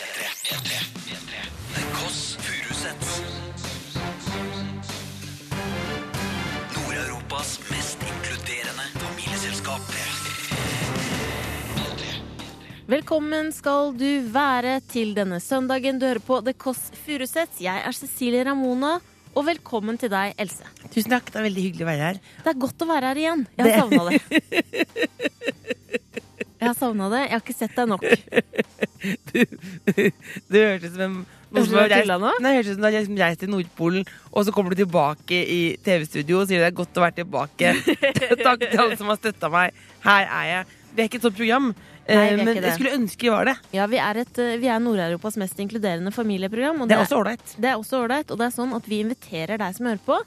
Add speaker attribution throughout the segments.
Speaker 1: P3. P3. The Kåss Furuseths. Nord-Europas mest inkluderende familieselskap. P3.
Speaker 2: Velkommen skal du være til denne søndagen. Du hører på The Kåss Furuseth. Jeg er Cecilie Ramona. Og velkommen til deg, Else.
Speaker 3: Tusen takk, det er veldig hyggelig å være her.
Speaker 2: Det er godt å være her igjen. Jeg har savna det. Jeg har savna det. Jeg har ikke sett deg nok.
Speaker 3: Du hørtes ut
Speaker 2: Hørtes du
Speaker 3: som en som har
Speaker 2: meg tulla
Speaker 3: reist-
Speaker 2: nå?
Speaker 3: Nei, hørtes ut som du har liksom reist til Nordpolen, og så kommer du tilbake i TV-studio og sier det er godt å være tilbake. takk til alle som har støtta meg. Her er jeg. Vi er ikke et sånt program, eh,
Speaker 2: Nei, vi er ikke
Speaker 3: men
Speaker 2: det.
Speaker 3: jeg skulle ønske vi var det.
Speaker 2: Ja, Vi er, et, eh, vi er Nord-Europas mest inkluderende familieprogram. Og
Speaker 3: Det er også ålreit.
Speaker 2: det er også ålreit. Og det er sånn at vi inviterer deg som hører på,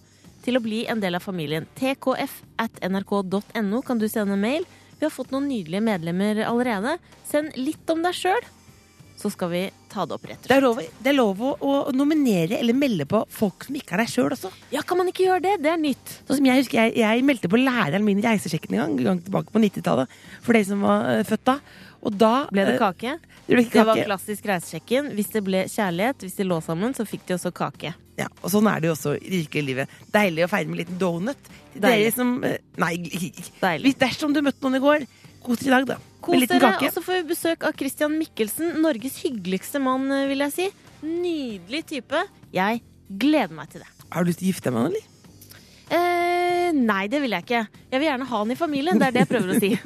Speaker 2: til å bli en del av familien. tkf at nrk.no kan du sende en mail. Vi har fått noen nydelige medlemmer allerede. Send litt om deg sjøl, så skal vi ta det opp rett og slett.
Speaker 3: Det er lov, det er lov å, å nominere eller melde på folk som ikke er deg sjøl også.
Speaker 2: Ja, kan man ikke gjøre det? Det er nytt.
Speaker 3: Sånn som Jeg husker jeg, jeg meldte på læreren min i reisesjekken en gang, en gang tilbake på 90-tallet. For dere som var eh, født da. Og da
Speaker 2: Ble det
Speaker 3: eh,
Speaker 2: kake?
Speaker 3: Det ble ikke
Speaker 2: Det var
Speaker 3: kake.
Speaker 2: klassisk reisesjekken. Hvis det ble kjærlighet, hvis de lå sammen, så fikk de også kake.
Speaker 3: Ja, og sånn er det jo også i det virkelige livet. Deilig å feire med en liten donut. Til
Speaker 2: Deilig.
Speaker 3: Dere som eh, Nei, ikke- ikke-
Speaker 2: Deilig.
Speaker 3: hvis dersom du møtte noen i går, kos dere i dag, da.
Speaker 2: Kos
Speaker 3: med en liten
Speaker 2: dere,
Speaker 3: kake.
Speaker 2: og så får vi besøk av Christian Mikkelsen. Norges hyggeligste mann, eh, vil jeg si. Nydelig type. Jeg gleder meg til det.
Speaker 3: Har du lyst til å gifte deg med han, eller?
Speaker 2: Eh, nei, det vil jeg ikke. Jeg vil gjerne ha han i familien. Det er det jeg prøver å si. Jeg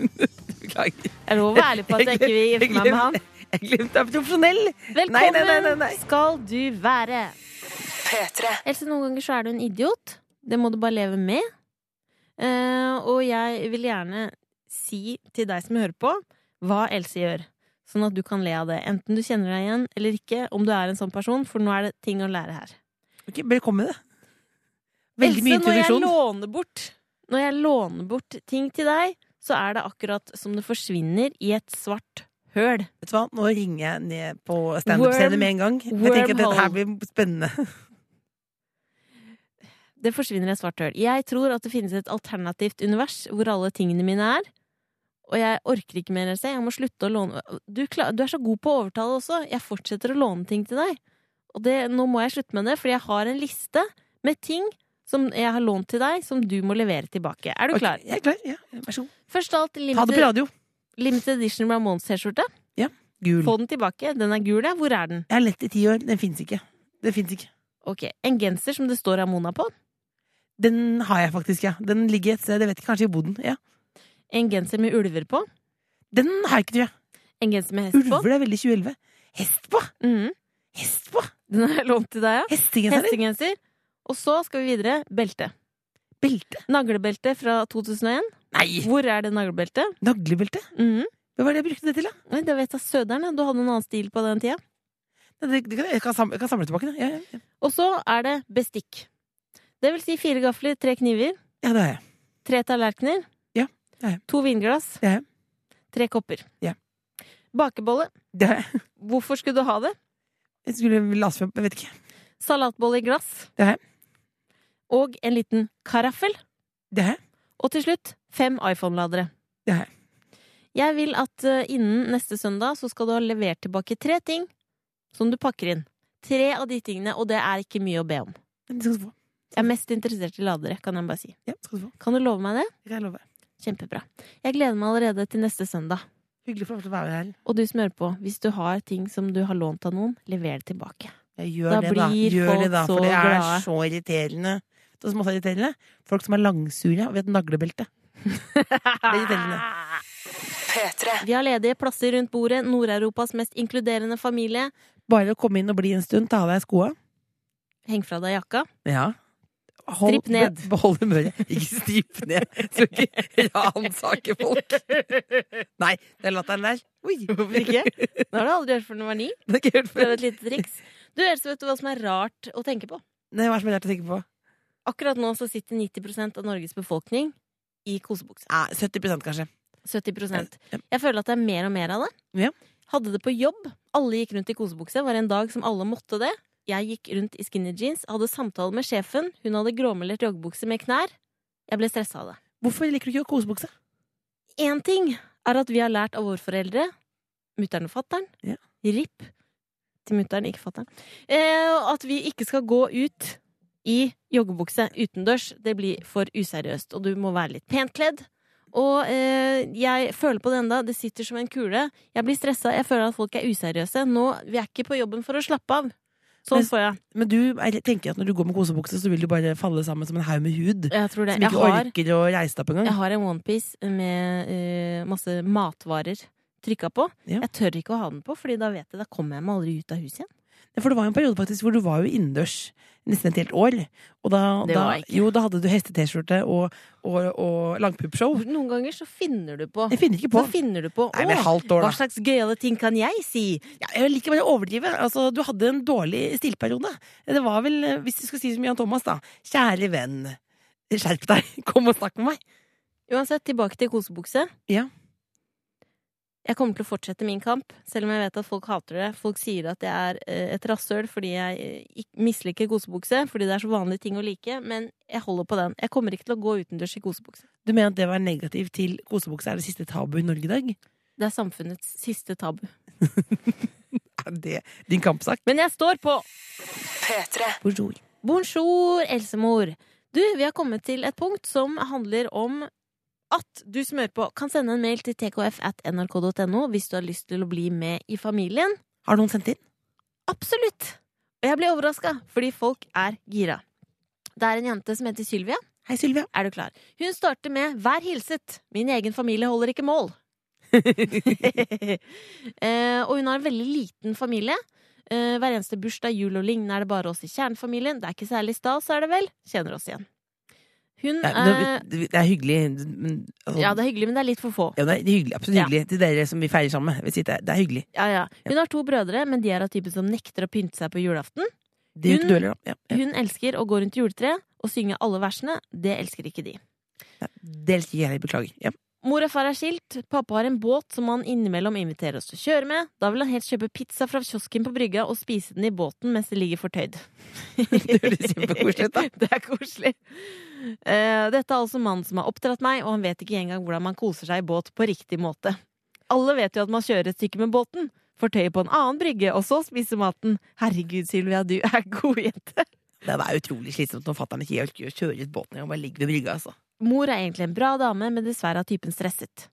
Speaker 3: Beklager.
Speaker 2: er lov å være ærlig på at jeg ikke vil
Speaker 3: Jeg
Speaker 2: gifte meg med han.
Speaker 3: glemte- Jeg glemte jeg er profesjonell! Nei,
Speaker 2: Velkommen
Speaker 3: nei, nei, nei, nei.
Speaker 2: skal du være. Else, noen ganger så er du en idiot. Det må du bare leve med. Eh, og jeg vil gjerne si til deg som hører på, hva Else gjør. Sånn at du kan le av det. Enten du kjenner deg igjen eller ikke, om du er en sånn person, for nå er det ting å lære her.
Speaker 3: Ok, bare kom med det. Veldig
Speaker 2: Else,
Speaker 3: mye
Speaker 2: Når jeg,
Speaker 3: introduksjon.
Speaker 2: låner bort, når jeg låner bort ting til deg, så er det akkurat som det forsvinner i et svart høl.
Speaker 3: Vet du hva, Nå ringer jeg ned på standup-scenen
Speaker 2: Worm-
Speaker 3: med en gang. Jeg tenker at dette her
Speaker 2: wormhole.
Speaker 3: blir spennende.
Speaker 2: det forsvinner et svart høl. Jeg tror at det finnes et alternativt univers hvor alle tingene mine er. Og jeg orker ikke mer, Else. Jeg må slutte å låne du, kla- du er så god på å overtale også. Jeg fortsetter å låne ting til deg. Og det, nå må jeg slutte med det, fordi jeg har en liste med ting som jeg har lånt til deg, som du må levere tilbake. Er du
Speaker 3: Ok,
Speaker 2: klar?
Speaker 3: Jeg er klar. Ja, vær så god.
Speaker 2: Først av alt
Speaker 3: Ha det på
Speaker 2: limited,
Speaker 3: radio.
Speaker 2: limited edition Ramones-T-skjorte.
Speaker 3: Gul.
Speaker 2: Få den tilbake. Den er gul, ja. Hvor er den?
Speaker 3: Jeg har lett i ti år. Den fins ikke. Den fins ikke.
Speaker 2: Ok, En genser som det står Ramona på.
Speaker 3: Den har jeg faktisk, ja. Den ligger et sted, jeg vet ikke, kanskje i boden. Ja.
Speaker 2: En genser med ulver på.
Speaker 3: Den har jeg ikke, tror jeg.
Speaker 2: En genser med hest på.
Speaker 3: Ulver det er veldig 2011. Hest på!
Speaker 2: Mhm.
Speaker 3: Hest på!
Speaker 2: Den har jeg lånt til deg, ja.
Speaker 3: Hestegenser.
Speaker 2: Hestegenser. Og så skal vi videre. Belte.
Speaker 3: Belte.
Speaker 2: Naglebelte fra 2001.
Speaker 3: Nei!
Speaker 2: Hvor er det naglebeltet?
Speaker 3: Naglebelte.
Speaker 2: Mhm.
Speaker 3: Hva var det jeg brukte det til, da?
Speaker 2: Nei, Det vet jeg søderen. ja. Du hadde en annen stil på den tida.
Speaker 3: Nei, Det, det kan, jeg, kan samle, jeg kan samle tilbake det. Ja, ja, ja.
Speaker 2: Og så er det bestikk. Det vil si fire gafler, tre kniver,
Speaker 3: ja, det har jeg.
Speaker 2: tre tallerkener,
Speaker 3: Ja, ja, ja.
Speaker 2: to vinglass,
Speaker 3: Ja, ja.
Speaker 2: tre kopper.
Speaker 3: Ja.
Speaker 2: Bakebolle.
Speaker 3: Det har jeg.
Speaker 2: Hvorfor skulle du ha det?
Speaker 3: jeg skulle lase frem, jeg vet ikke.
Speaker 2: Salatbolle i glass.
Speaker 3: Det har jeg.
Speaker 2: Og en liten karaffel.
Speaker 3: Det har jeg.
Speaker 2: Og til slutt fem iPhone-ladere.
Speaker 3: Det har jeg.
Speaker 2: Jeg vil at eh, innen neste søndag så skal du ha levert tilbake tre ting som du pakker inn. Tre av de tingene, og det er ikke mye å be om.
Speaker 3: Den skal du få.
Speaker 2: Jeg er mest interessert i ladere, kan jeg bare si.
Speaker 3: Ja, skal du få.
Speaker 2: Kan du love meg det?
Speaker 3: Det kan jeg love.
Speaker 2: Kjempebra. Jeg gleder meg allerede til neste søndag.
Speaker 3: Hyggelig for å være her.
Speaker 2: Og du som hører på, hvis du har ting som du har lånt av noen, lever det tilbake.
Speaker 3: Jeg gjør
Speaker 2: Da
Speaker 3: det, da.
Speaker 2: blir
Speaker 3: Gjør
Speaker 2: folk
Speaker 3: det, da.
Speaker 2: så
Speaker 3: For det er
Speaker 2: glade.
Speaker 3: så irriterende. Det er så masse irriterende. Folk som er langsure og vet naglebelte. Det er irriterende.
Speaker 2: Vi har ledige plasser rundt bordet. Nord-Europas mest inkluderende familie.
Speaker 3: Bare å komme inn og bli en stund, ta av deg skoa.
Speaker 2: Heng fra deg jakka.
Speaker 3: Ja.
Speaker 2: Stripp ned.
Speaker 3: be- Behold humøret. Ikke stripp ned. Så ikke ransake folk. Nei, den latteren der Oi.
Speaker 2: Hvorfor ikke? Det har du aldri hørt før du var ni.
Speaker 3: Det har jeg ikke hørt
Speaker 2: Prøv
Speaker 3: før.
Speaker 2: et lite triks. Du, Else, vet du hva som er rart å tenke på?
Speaker 3: Nei, Hva er det som er rart å tenke på?
Speaker 2: Akkurat nå så sitter 90 av Norges befolkning i kosebukse.
Speaker 3: Ja, 70 kanskje.
Speaker 2: 70 Jeg føler at det er mer og mer av det.
Speaker 3: Ja.
Speaker 2: Hadde det på jobb. Alle gikk rundt i kosebukse. Var en dag som alle måtte det. Jeg gikk rundt i skinny jeans, hadde samtale med sjefen. Hun hadde gråmelert joggebukse med knær. Jeg ble stressa av det.
Speaker 3: Hvorfor liker du ikke å ha kosebukse?
Speaker 2: Én ting er at vi har lært av våre foreldre, mutter'n og fatter'n,
Speaker 3: Ja.
Speaker 2: RIP, til mutter'n, ikke fatter'n. Eh, og at vi ikke skal gå ut i joggebukse utendørs, det blir for useriøst. Og du må være litt pent kledd. Og eh, jeg føler på det enda, det sitter som en kule. Jeg blir stressa, jeg føler at folk er useriøse. Nå, Vi er ikke på jobben for å slappe av. Sånn
Speaker 3: Men-
Speaker 2: får jeg.
Speaker 3: Men du jeg tenker at når du går med kosebukse, så vil du bare falle sammen som en haug med hud.
Speaker 2: Jeg tror det.
Speaker 3: Som
Speaker 2: Jeg
Speaker 3: ikke
Speaker 2: har,
Speaker 3: orker å reise deg opp engang.
Speaker 2: jeg har en onepiece med eh, masse matvarer trykka på.
Speaker 3: Ja.
Speaker 2: Jeg tør ikke å ha den på, Fordi da vet jeg, da kommer jeg meg aldri ut av huset igjen.
Speaker 3: Ja, For det var jo en periode faktisk hvor du var jo innendørs nesten et helt år. Og da,
Speaker 2: Det
Speaker 3: da,
Speaker 2: var jeg ikke.
Speaker 3: jo, da hadde du heste-T-skjorte og, og, og langpuppshow.
Speaker 2: Noen ganger så finner du på.
Speaker 3: Jeg finner ikke på.
Speaker 2: Så finner du på
Speaker 3: Nei, men
Speaker 2: «Å,
Speaker 3: halvt år,
Speaker 2: hva
Speaker 3: da.
Speaker 2: slags gøyale ting kan jeg si?
Speaker 3: Ja, jeg liker bare å overdrive. Altså, du hadde en dårlig stilperiode. Det var vel, eh, hvis du skal si som Jan Thomas, da. Kjære venn, skjerp deg. Kom og snakk med meg.
Speaker 2: Uansett, tilbake til kosebukse.
Speaker 3: Ja.
Speaker 2: Jeg kommer til å fortsette min kamp, selv om jeg vet at folk hater det. Folk sier at jeg er eh, et rasshøl fordi jeg eh, ikk- misliker kosebukse, fordi det er så vanlige ting å like, men jeg holder på den. Jeg kommer ikke til å gå utendørs i kosebukse.
Speaker 3: Du mener at det å være negativ til kosebukse er det siste tabu i Norge i dag?
Speaker 2: Det er samfunnets siste tabu.
Speaker 3: Er det din kampsak?
Speaker 2: Men jeg står på!
Speaker 3: Bonjour.
Speaker 2: Bonjour, Elsemor. Du, vi har kommet til et punkt som handler om at du som hører på, kan sende en mail til tkf at nrk.no hvis du har lyst til å bli med i familien.
Speaker 3: Har noen sendt inn?
Speaker 2: Absolutt! Og jeg ble overraska, fordi folk er gira. Det er en jente som heter Sylvia.
Speaker 3: Hei, Sylvia.
Speaker 2: Er du klar? Hun starter med 'Vær hilset'. Min egen familie holder ikke mål. eh, og hun har en veldig liten familie. Eh, hver eneste bursdag, jul og lignende er det bare oss i kjernefamilien. Det er ikke særlig stas, er det vel? Kjenner oss igjen. Hun
Speaker 3: Ja,
Speaker 2: er
Speaker 3: det, det er hyggelig. men, altså,
Speaker 2: Ja, det er hyggelig, men det er litt for få.
Speaker 3: Ja, det er hyggelig, absolutt
Speaker 2: Ja.
Speaker 3: hyggelig til dere som vi feirer sammen med. Vi sier Det det er hyggelig.
Speaker 2: Ja, ja. Hun har to brødre, men de er av typen som nekter å pynte seg på julaften.
Speaker 3: Det gjør
Speaker 2: Hun-
Speaker 3: ikke du heller, da. Ja,
Speaker 2: Hun elsker å gå rundt juletreet og synge alle versene. Det elsker ikke de.
Speaker 3: ja. Det elsker jeg heller, beklager. Ja.
Speaker 2: Mor og far er skilt, pappa har en båt som han innimellom inviterer oss til å kjøre med. Da vil han helt kjøpe pizza fra kiosken på brygga og spise den i båten mens det ligger fortøyd.
Speaker 3: Det høres kjempekoselig ut, da.
Speaker 2: Det er koselig. Eh, dette er altså mannen som har oppdratt meg, og han vet ikke engang hvordan man koser seg i båt på riktig måte. Alle vet jo at man kjører et stykke med båten, fortøyer på en annen brygge, og så spiser maten. Herregud, Sylvia, du er god jente.
Speaker 3: Det er utrolig slitsomt når fatter'n ikke orker å kjøre ut båten engang. Bare ligger ved brygga, altså.
Speaker 2: Mor er egentlig en bra dame, men dessverre er typen stresset.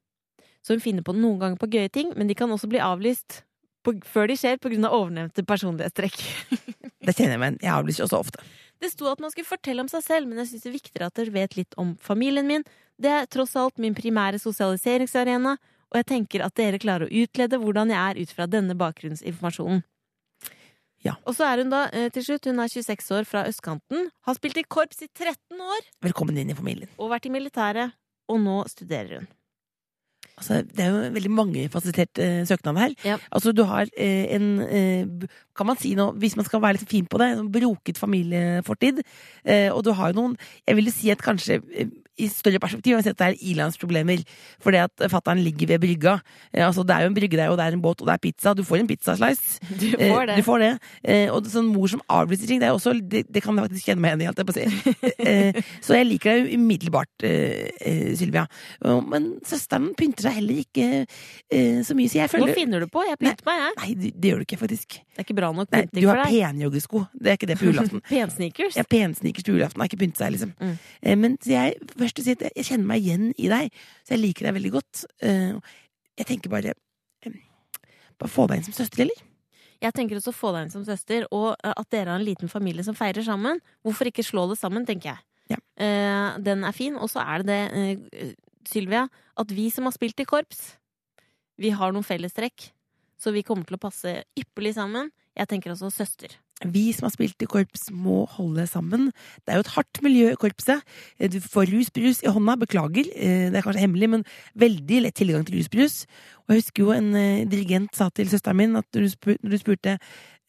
Speaker 2: Så hun finner på noen ganger på gøye ting, men de kan også bli avlyst på, før de skjer pga. ovennevnte personlighetstrekk.
Speaker 3: Det kjenner jeg meg igjen. Jeg avlyser også ofte.
Speaker 2: Det sto at man skulle fortelle om seg selv, men jeg syns det er viktigere at dere vet litt om familien min. Det er tross alt min primære sosialiseringsarena, og jeg tenker at dere klarer å utlede hvordan jeg er ut fra denne bakgrunnsinformasjonen.
Speaker 3: Ja.
Speaker 2: Og så er hun da eh, til slutt, hun er 26 år fra østkanten, har spilt i korps i 13 år
Speaker 3: Velkommen inn i familien.
Speaker 2: og vært i militæret, og nå studerer hun.
Speaker 3: Altså, det er jo veldig mangefasettert eh, søknad her.
Speaker 2: Ja.
Speaker 3: Altså, du har eh, en eh, b- Kan man si noe, hvis man skal være litt fin på det, en sånn broket familiefortid. Eh, og du har jo noen Jeg vil jo si at kanskje eh, i større perspektiv har vi sett det er ilandsproblemer. For det at fattern ligger ved brygga. Eh, altså, det er jo en brygge der, og det er en båt, og det er pizza. Du får en pizzaslice.
Speaker 2: Du
Speaker 3: Eh, Du får det. Eh, og sånn mor som avlyser ting, det, er også, det, det kan jeg faktisk kjenne meg igjen i. holdt jeg på å si. eh, så jeg liker deg umiddelbart, eh, eh, Sylvia. Og- Men søsteren pynter seg heller ikke eh, så mye, så jeg
Speaker 2: Nå
Speaker 3: føler
Speaker 2: finner du på, jeg pynter meg, jeg.
Speaker 3: Nei, det, det gjør du ikke, faktisk.
Speaker 2: Det er ikke bra nok
Speaker 3: Nei,
Speaker 2: pynting
Speaker 3: du har
Speaker 2: for deg.
Speaker 3: penjoggesko. Det er ikke det på julaften.
Speaker 2: Pensneakers.
Speaker 3: Ja, Pensnikers på julaften har ikke pyntet seg, liksom.
Speaker 2: Mm.
Speaker 3: Eh, Men så jeg, først å si at jeg- jeg kjenner meg igjen i deg, så jeg liker deg veldig godt. Eh, Jeg tenker bare eh, Bare få deg inn som søster, eller?
Speaker 2: Jeg tenker også å få deg inn som søster, og eh, at dere har en liten familie som feirer sammen. Hvorfor ikke slå det sammen, tenker jeg.
Speaker 3: Ja.
Speaker 2: Eh, den er fin. Og så er det det, eh, Sylvia, at vi som har spilt i korps, vi har noen fellestrekk. Så vi kommer til å passe ypperlig sammen. Jeg tenker også søster.
Speaker 3: Vi som har spilt i korps, må holde sammen. Det er jo et hardt miljø i korpset. Eh, Du får rusbrus i hånda, beklager, eh, det er kanskje hemmelig, men veldig lett tilgang til rusbrus. Og jeg husker jo en eh, dirigent sa til søsteren min, at når du, spur, når du spurte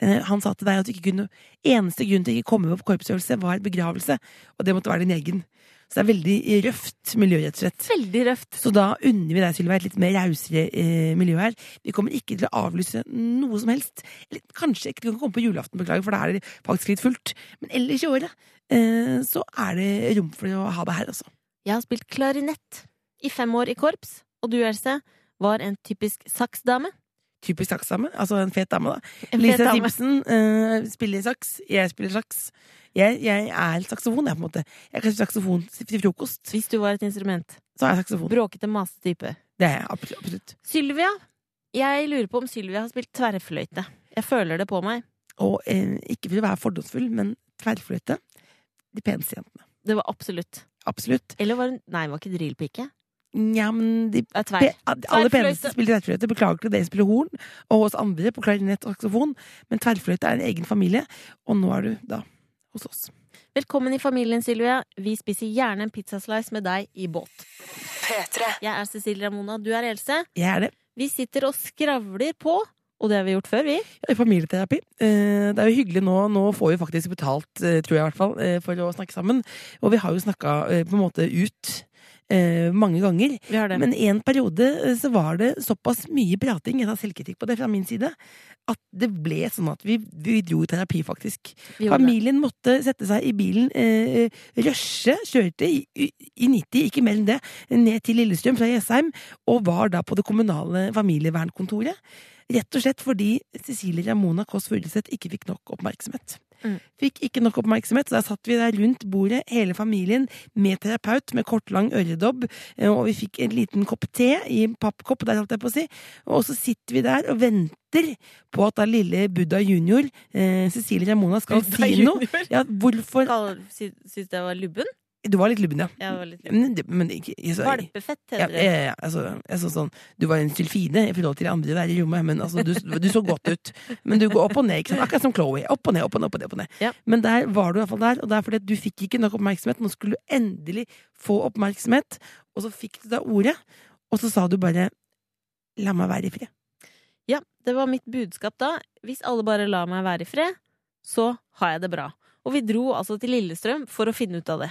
Speaker 3: eh, Han sa til deg at du ikke kunne eneste grunn til ikke å komme på korpsøvelse, var begravelse. Og det måtte være din egen. Så det er veldig røft miljø, rett og slett.
Speaker 2: Veldig røft.
Speaker 3: Så da unner vi deg, Sylvia, et litt mer rausere eh, miljø her. Vi kommer ikke til å avlyse noe som helst. Eller, kanskje ikke du kan komme på julaften, beklager, for da er det faktisk litt fullt. Men ellers i året eh, så er det rom for å ha det her, altså.
Speaker 2: Jeg har spilt klarinett i fem år i korps, og du, Else, var en typisk saksdame.
Speaker 3: Typisk saksdame. Altså en fet dame, da.
Speaker 2: En fet
Speaker 3: Lisa
Speaker 2: dame.
Speaker 3: Simpson eh, spiller saks. Jeg spiller saks. Jeg, jeg er en saksofon, jeg, på en måte. Jeg kan spille saksofon til frokost.
Speaker 2: Hvis du var et instrument.
Speaker 3: Så er jeg saksofon.
Speaker 2: Bråkete, masete type.
Speaker 3: Det er jeg absolutt. absolutt.
Speaker 2: Sylvia. Jeg lurer på om Sylvia har spilt tverrfløyte. Jeg føler det på meg.
Speaker 3: Og eh, ikke for å være fordomsfull, men tverrfløyte. De peneste jentene.
Speaker 2: Det var absolutt.
Speaker 3: Absolutt.
Speaker 2: Eller var hun Nei, hun var ikke drillpike.
Speaker 3: Nja, men de
Speaker 2: Det er
Speaker 3: Pe-
Speaker 2: tverr.
Speaker 3: de aller peneste
Speaker 2: Tverrfløyte.
Speaker 3: spiller tverrfløyte. Beklager til dere som spiller horn, og oss andre på klarinett og saksofon, men tverrfløyte er en egen familie, og nå er du da hos oss.
Speaker 2: Velkommen i familien, Sylvia. Vi spiser gjerne en pizzaslice med deg i båt. Jeg er Cecilie Ramona, du er Else.
Speaker 3: Jeg er det.
Speaker 2: Vi sitter og skravler på, og det har vi gjort før, vi.
Speaker 3: Jeg er i Familieterapi. Eh, Det er jo hyggelig nå. Nå får vi faktisk betalt, eh, tror jeg i hvert fall, eh, for å snakke sammen. Og vi har jo snakka eh, på en måte ut eh, mange ganger.
Speaker 2: Vi har det.
Speaker 3: Men i en periode eh, så var det såpass mye prating, jeg tar selvkritikk på det fra min side, at det ble sånn at vi, vi dro i terapi, faktisk.
Speaker 2: vi gjorde det.
Speaker 3: Familien måtte sette seg i bilen, eh, rushe, kjørte i, i, i 90, ikke mer enn det, ned til Lillestrøm fra Jessheim, og var da på det kommunale familievernkontoret. Rett og slett fordi Cecilie Ramona Kåss Furuseth ikke fikk nok oppmerksomhet.
Speaker 2: Mm.
Speaker 3: Fikk ikke nok oppmerksomhet, så der satt vi der rundt bordet, hele familien, med terapeut, med kortlang øredobb, eh, og vi fikk en liten kopp te i en pappkopp, der holdt jeg på å si, og så sitter vi der og venter på at da lille Buddha junior, eh, Cecilie Ramona, skal si noe. Ja, hvorfor
Speaker 2: Kall- sy- Syns jeg var lubben?
Speaker 3: Du var litt lubben, ja.
Speaker 2: Jeg var litt lubben.
Speaker 3: Men, det- men ikke jeg, så,
Speaker 2: Valpefett,
Speaker 3: ja,
Speaker 2: heter det.
Speaker 3: jeg, altså, jeg så sånn Du var en sylfide i forhold til de andre der i rommet, men altså, du, du så godt ut. Men du går opp og ned, ikke sant? akkurat som Chloé. Opp og ned, opp og ned. opp og ned, opp og ned.
Speaker 2: Ja.
Speaker 3: Men der var du i hvert fall der, og det er fordi at du fikk ikke nok oppmerksomhet. Nå skulle du endelig få oppmerksomhet, og så fikk du da ordet, og så sa du bare La meg være i fred.
Speaker 2: Ja, det var mitt budskap da. Hvis alle bare lar meg være i fred, så har jeg det bra. Og vi dro altså til Lillestrøm for å finne ut av det.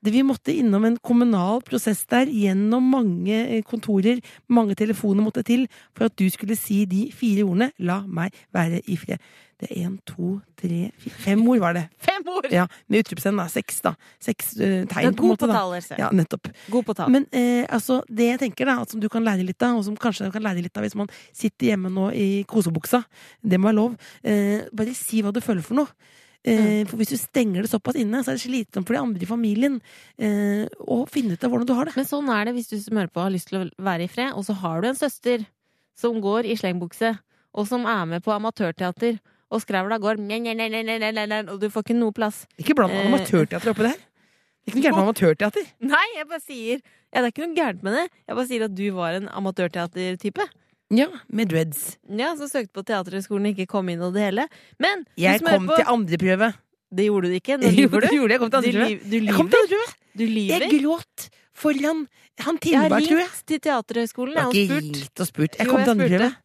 Speaker 3: Det vi måtte innom en kommunal prosess der, gjennom mange eh, kontorer, mange telefoner måtte til, for at du skulle si de fire ordene 'la meg være i fred'. Det er én, to, tre, fire Fem ord var det.
Speaker 2: Fem ord!
Speaker 3: Ja, Med utropstegn, da. Seks, da. Seks eh,
Speaker 2: Du er
Speaker 3: tegn,
Speaker 2: god
Speaker 3: på en måte.
Speaker 2: på
Speaker 3: da.
Speaker 2: tall, Else.
Speaker 3: Ja, nettopp.
Speaker 2: God på tall.
Speaker 3: Men eh, altså, det jeg tenker da, at som du kan lære litt av, og som kanskje du kan lære litt av hvis man sitter hjemme nå i kosebuksa, det må være lov, eh, bare si hva du føler for noe. Eh, for hvis du stenger det såpass inne, så er det slitsomt for de andre i familien eh, å finne ut av hvordan du har det.
Speaker 2: Men sånn er det hvis du som hører på har lyst til å være i fred, og så har du en søster som går i slengbukse, og som er med på amatørteater, og skravla går nja, nja, nja, nja, nja, nja, nja, og du får ikke noe plass.
Speaker 3: Ikke bland
Speaker 2: Eh.
Speaker 3: amatørteater oppi det her. Det er ikke noe gærent med amatørteater.
Speaker 2: Nei, jeg bare sier Ja, det er ikke noe gærent med det. Jeg bare sier at du var en amatørteatertype.
Speaker 3: Ja, med dreads.
Speaker 2: Ja, som søkte på Teaterhøgskolen og ikke kom inn og det hele. Men du
Speaker 3: Jeg
Speaker 2: som hører
Speaker 3: kom
Speaker 2: på-
Speaker 3: til andre prøve.
Speaker 2: Det gjorde du ikke. Nå
Speaker 3: Jo,
Speaker 2: lyver
Speaker 3: det
Speaker 2: du.
Speaker 3: Mm. gjorde jeg. Jeg kom til
Speaker 2: Du,
Speaker 3: andre prøve.
Speaker 2: lyv, du
Speaker 3: Jeg kom til
Speaker 2: lyver.
Speaker 3: andre prøve.
Speaker 2: Du lyver.
Speaker 3: Jeg gråt foran
Speaker 2: Jeg
Speaker 3: han
Speaker 2: har
Speaker 3: Tindberg, tror jeg.
Speaker 2: ringt til Teaterhøgskolen
Speaker 3: Jeg
Speaker 2: jeg
Speaker 3: har
Speaker 2: har
Speaker 3: ikke
Speaker 2: spurt.
Speaker 3: ringt og spurt. Jeg
Speaker 2: Jo,
Speaker 3: kom
Speaker 2: jeg
Speaker 3: til andre
Speaker 2: spurte.
Speaker 3: prøve.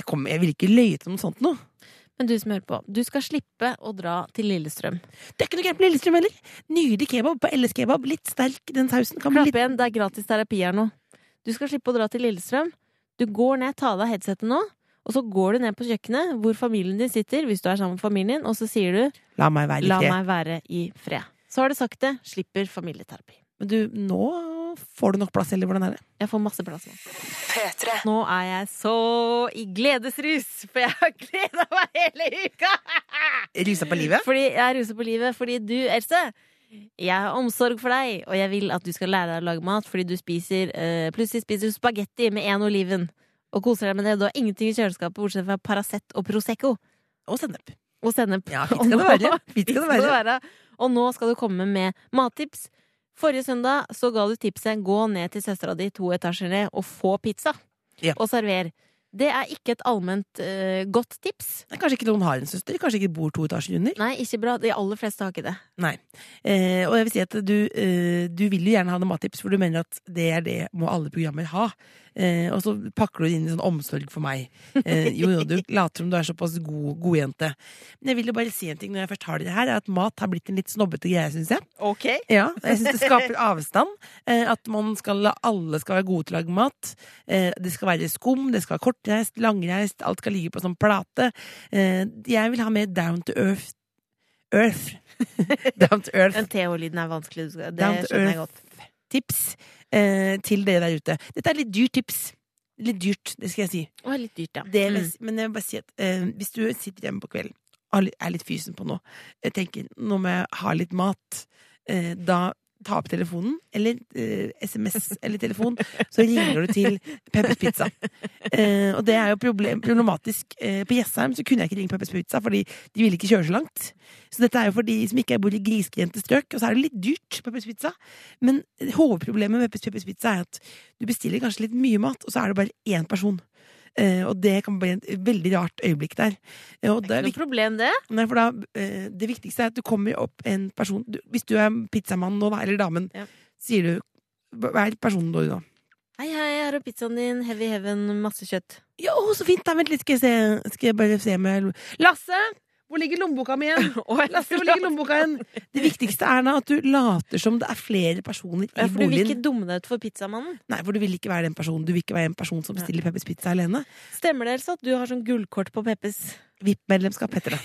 Speaker 3: Jeg, kom, jeg vil ikke løye til noe sånt nå.
Speaker 2: Men du som hører på, du skal slippe å dra til Lillestrøm.
Speaker 3: Det er ikke noe gærent med Lillestrøm heller. Nydelig kebab på LS Kebab. Litt sterk den sausen. Kan bli
Speaker 2: Klapp
Speaker 3: litt
Speaker 2: igjen, det er gratis terapi her nå. Du skal slippe å dra til Lillestrøm. Du går ned, ta av deg headsetet nå, og så går du ned på kjøkkenet hvor familien din sitter, hvis du er sammen med familien din, og så sier du
Speaker 3: La meg være i
Speaker 2: 'la
Speaker 3: fred.
Speaker 2: meg være i fred'. Så har du sagt det, slipper familieterapi.
Speaker 3: Men du, nå får du nok plass, eller hvordan er det?
Speaker 2: Jeg får masse plass nå. Nå er jeg så i gledesrus, for jeg har gleda meg hele uka!
Speaker 3: Rusa på livet?
Speaker 2: Fordi jeg er ruset på livet fordi du, Else, jeg har omsorg for deg, og jeg vil at du skal lære deg å lage mat fordi du spiser eh, Plutselig spiser du spagetti med én oliven og koser deg med det. Du har ingenting i kjøleskapet bortsett fra Paracet og Prosecco
Speaker 3: Og sennep.
Speaker 2: og sennep.
Speaker 3: Ja, fint skal det
Speaker 2: Og nå-
Speaker 3: være. Fint skal det være.
Speaker 2: Og nå skal du komme med mattips. Forrige søndag så ga du tipset 'gå ned til søstera di to etasjer ned og få pizza'.
Speaker 3: Ja.
Speaker 2: Og server. Det er ikke et allment eh, godt tips.
Speaker 3: Nei, Kanskje ikke noen har en søster? Kanskje ikke bor to etasjer under?
Speaker 2: Nei, ikke bra. De aller fleste har ikke det.
Speaker 3: Nei. Eh, og jeg vil si at du, eh, du vil jo gjerne ha noen mattips, for du mener at det er det må alle programmer ha. Eh, og så pakker du det inn i sånn omsorg for meg. Eh, jo, jo, du later som du er såpass god, god jente. Men jeg vil jo bare si en ting når jeg først har dere her, er at mat har blitt en litt snobbete greie, syns jeg.
Speaker 2: Ok.
Speaker 3: Ja, jeg synes det skaper avstand. Eh, at man skal, alle skal være gode til å lage mat. Eh, det skal være skum, det skal være kortreist, langreist, alt skal ligge på sånn plate. Eh, jeg vil ha mer down to earth. Earth. down to earth
Speaker 2: Den TH-lyden er vanskelig. du skal- Det
Speaker 3: Down to
Speaker 2: skjønner jeg godt.
Speaker 3: tips eh, til dere der ute. Dette er litt dyrt tips. Litt dyrt, det skal jeg si.
Speaker 2: Å, litt dyrt, ja.
Speaker 3: Det, vil
Speaker 2: Mm.
Speaker 3: jeg si- Men jeg vil bare si at eh, hvis du sitter hjemme på kvelden og har litt- er litt fysen på noe, jeg tenker nå må jeg ha litt mat, eh, da ta opp telefonen, eller eh, SMS eller telefon, så ringer du til Peppers Pizza. Eh, og det er jo problem, problematisk. Eh, på Jessheim så kunne jeg ikke ringe Peppers Pizza, fordi de ville ikke kjøre så langt. Så dette er jo for de som ikke bor i grisgrendte strøk, og så er det litt dyrt, Peppers Pizza. Men hovedproblemet med Peppers, Peppers Pizza er at du bestiller kanskje litt mye mat, og så er det bare én person. Eh, og det kan bli et veldig rart øyeblikk der. Eh, og
Speaker 2: Det er ikke
Speaker 3: viktig-
Speaker 2: noe problem, det.
Speaker 3: Nei, for da, eh, det viktigste er at du kommer opp en person du, Hvis du er pizzamann nå, da, eller damen,
Speaker 2: Ja.
Speaker 3: sier du Hva er personen da, du da?
Speaker 2: Hei, hei, her er pizzaen din. Heavy heaven, masse kjøtt.
Speaker 3: Ja, å, så fint! Da, vent litt, skal jeg, se, skal jeg bare se om jeg Lasse! Hvor ligger lommeboka mi igjen? Lasse, hvor ligger lommeboka igjen? Det viktigste er da at du later som det er flere personer i
Speaker 2: Ja, for du vil
Speaker 3: boligen.
Speaker 2: ikke dumme deg ut for pizzamannen.
Speaker 3: Nei, for du vil ikke være den personen. Du vil ikke være en person som bestiller Peppers Pizza alene.
Speaker 2: Stemmer det, Else, at du har sånn gullkort på Peppes?
Speaker 3: VIP-medlemskap heter det.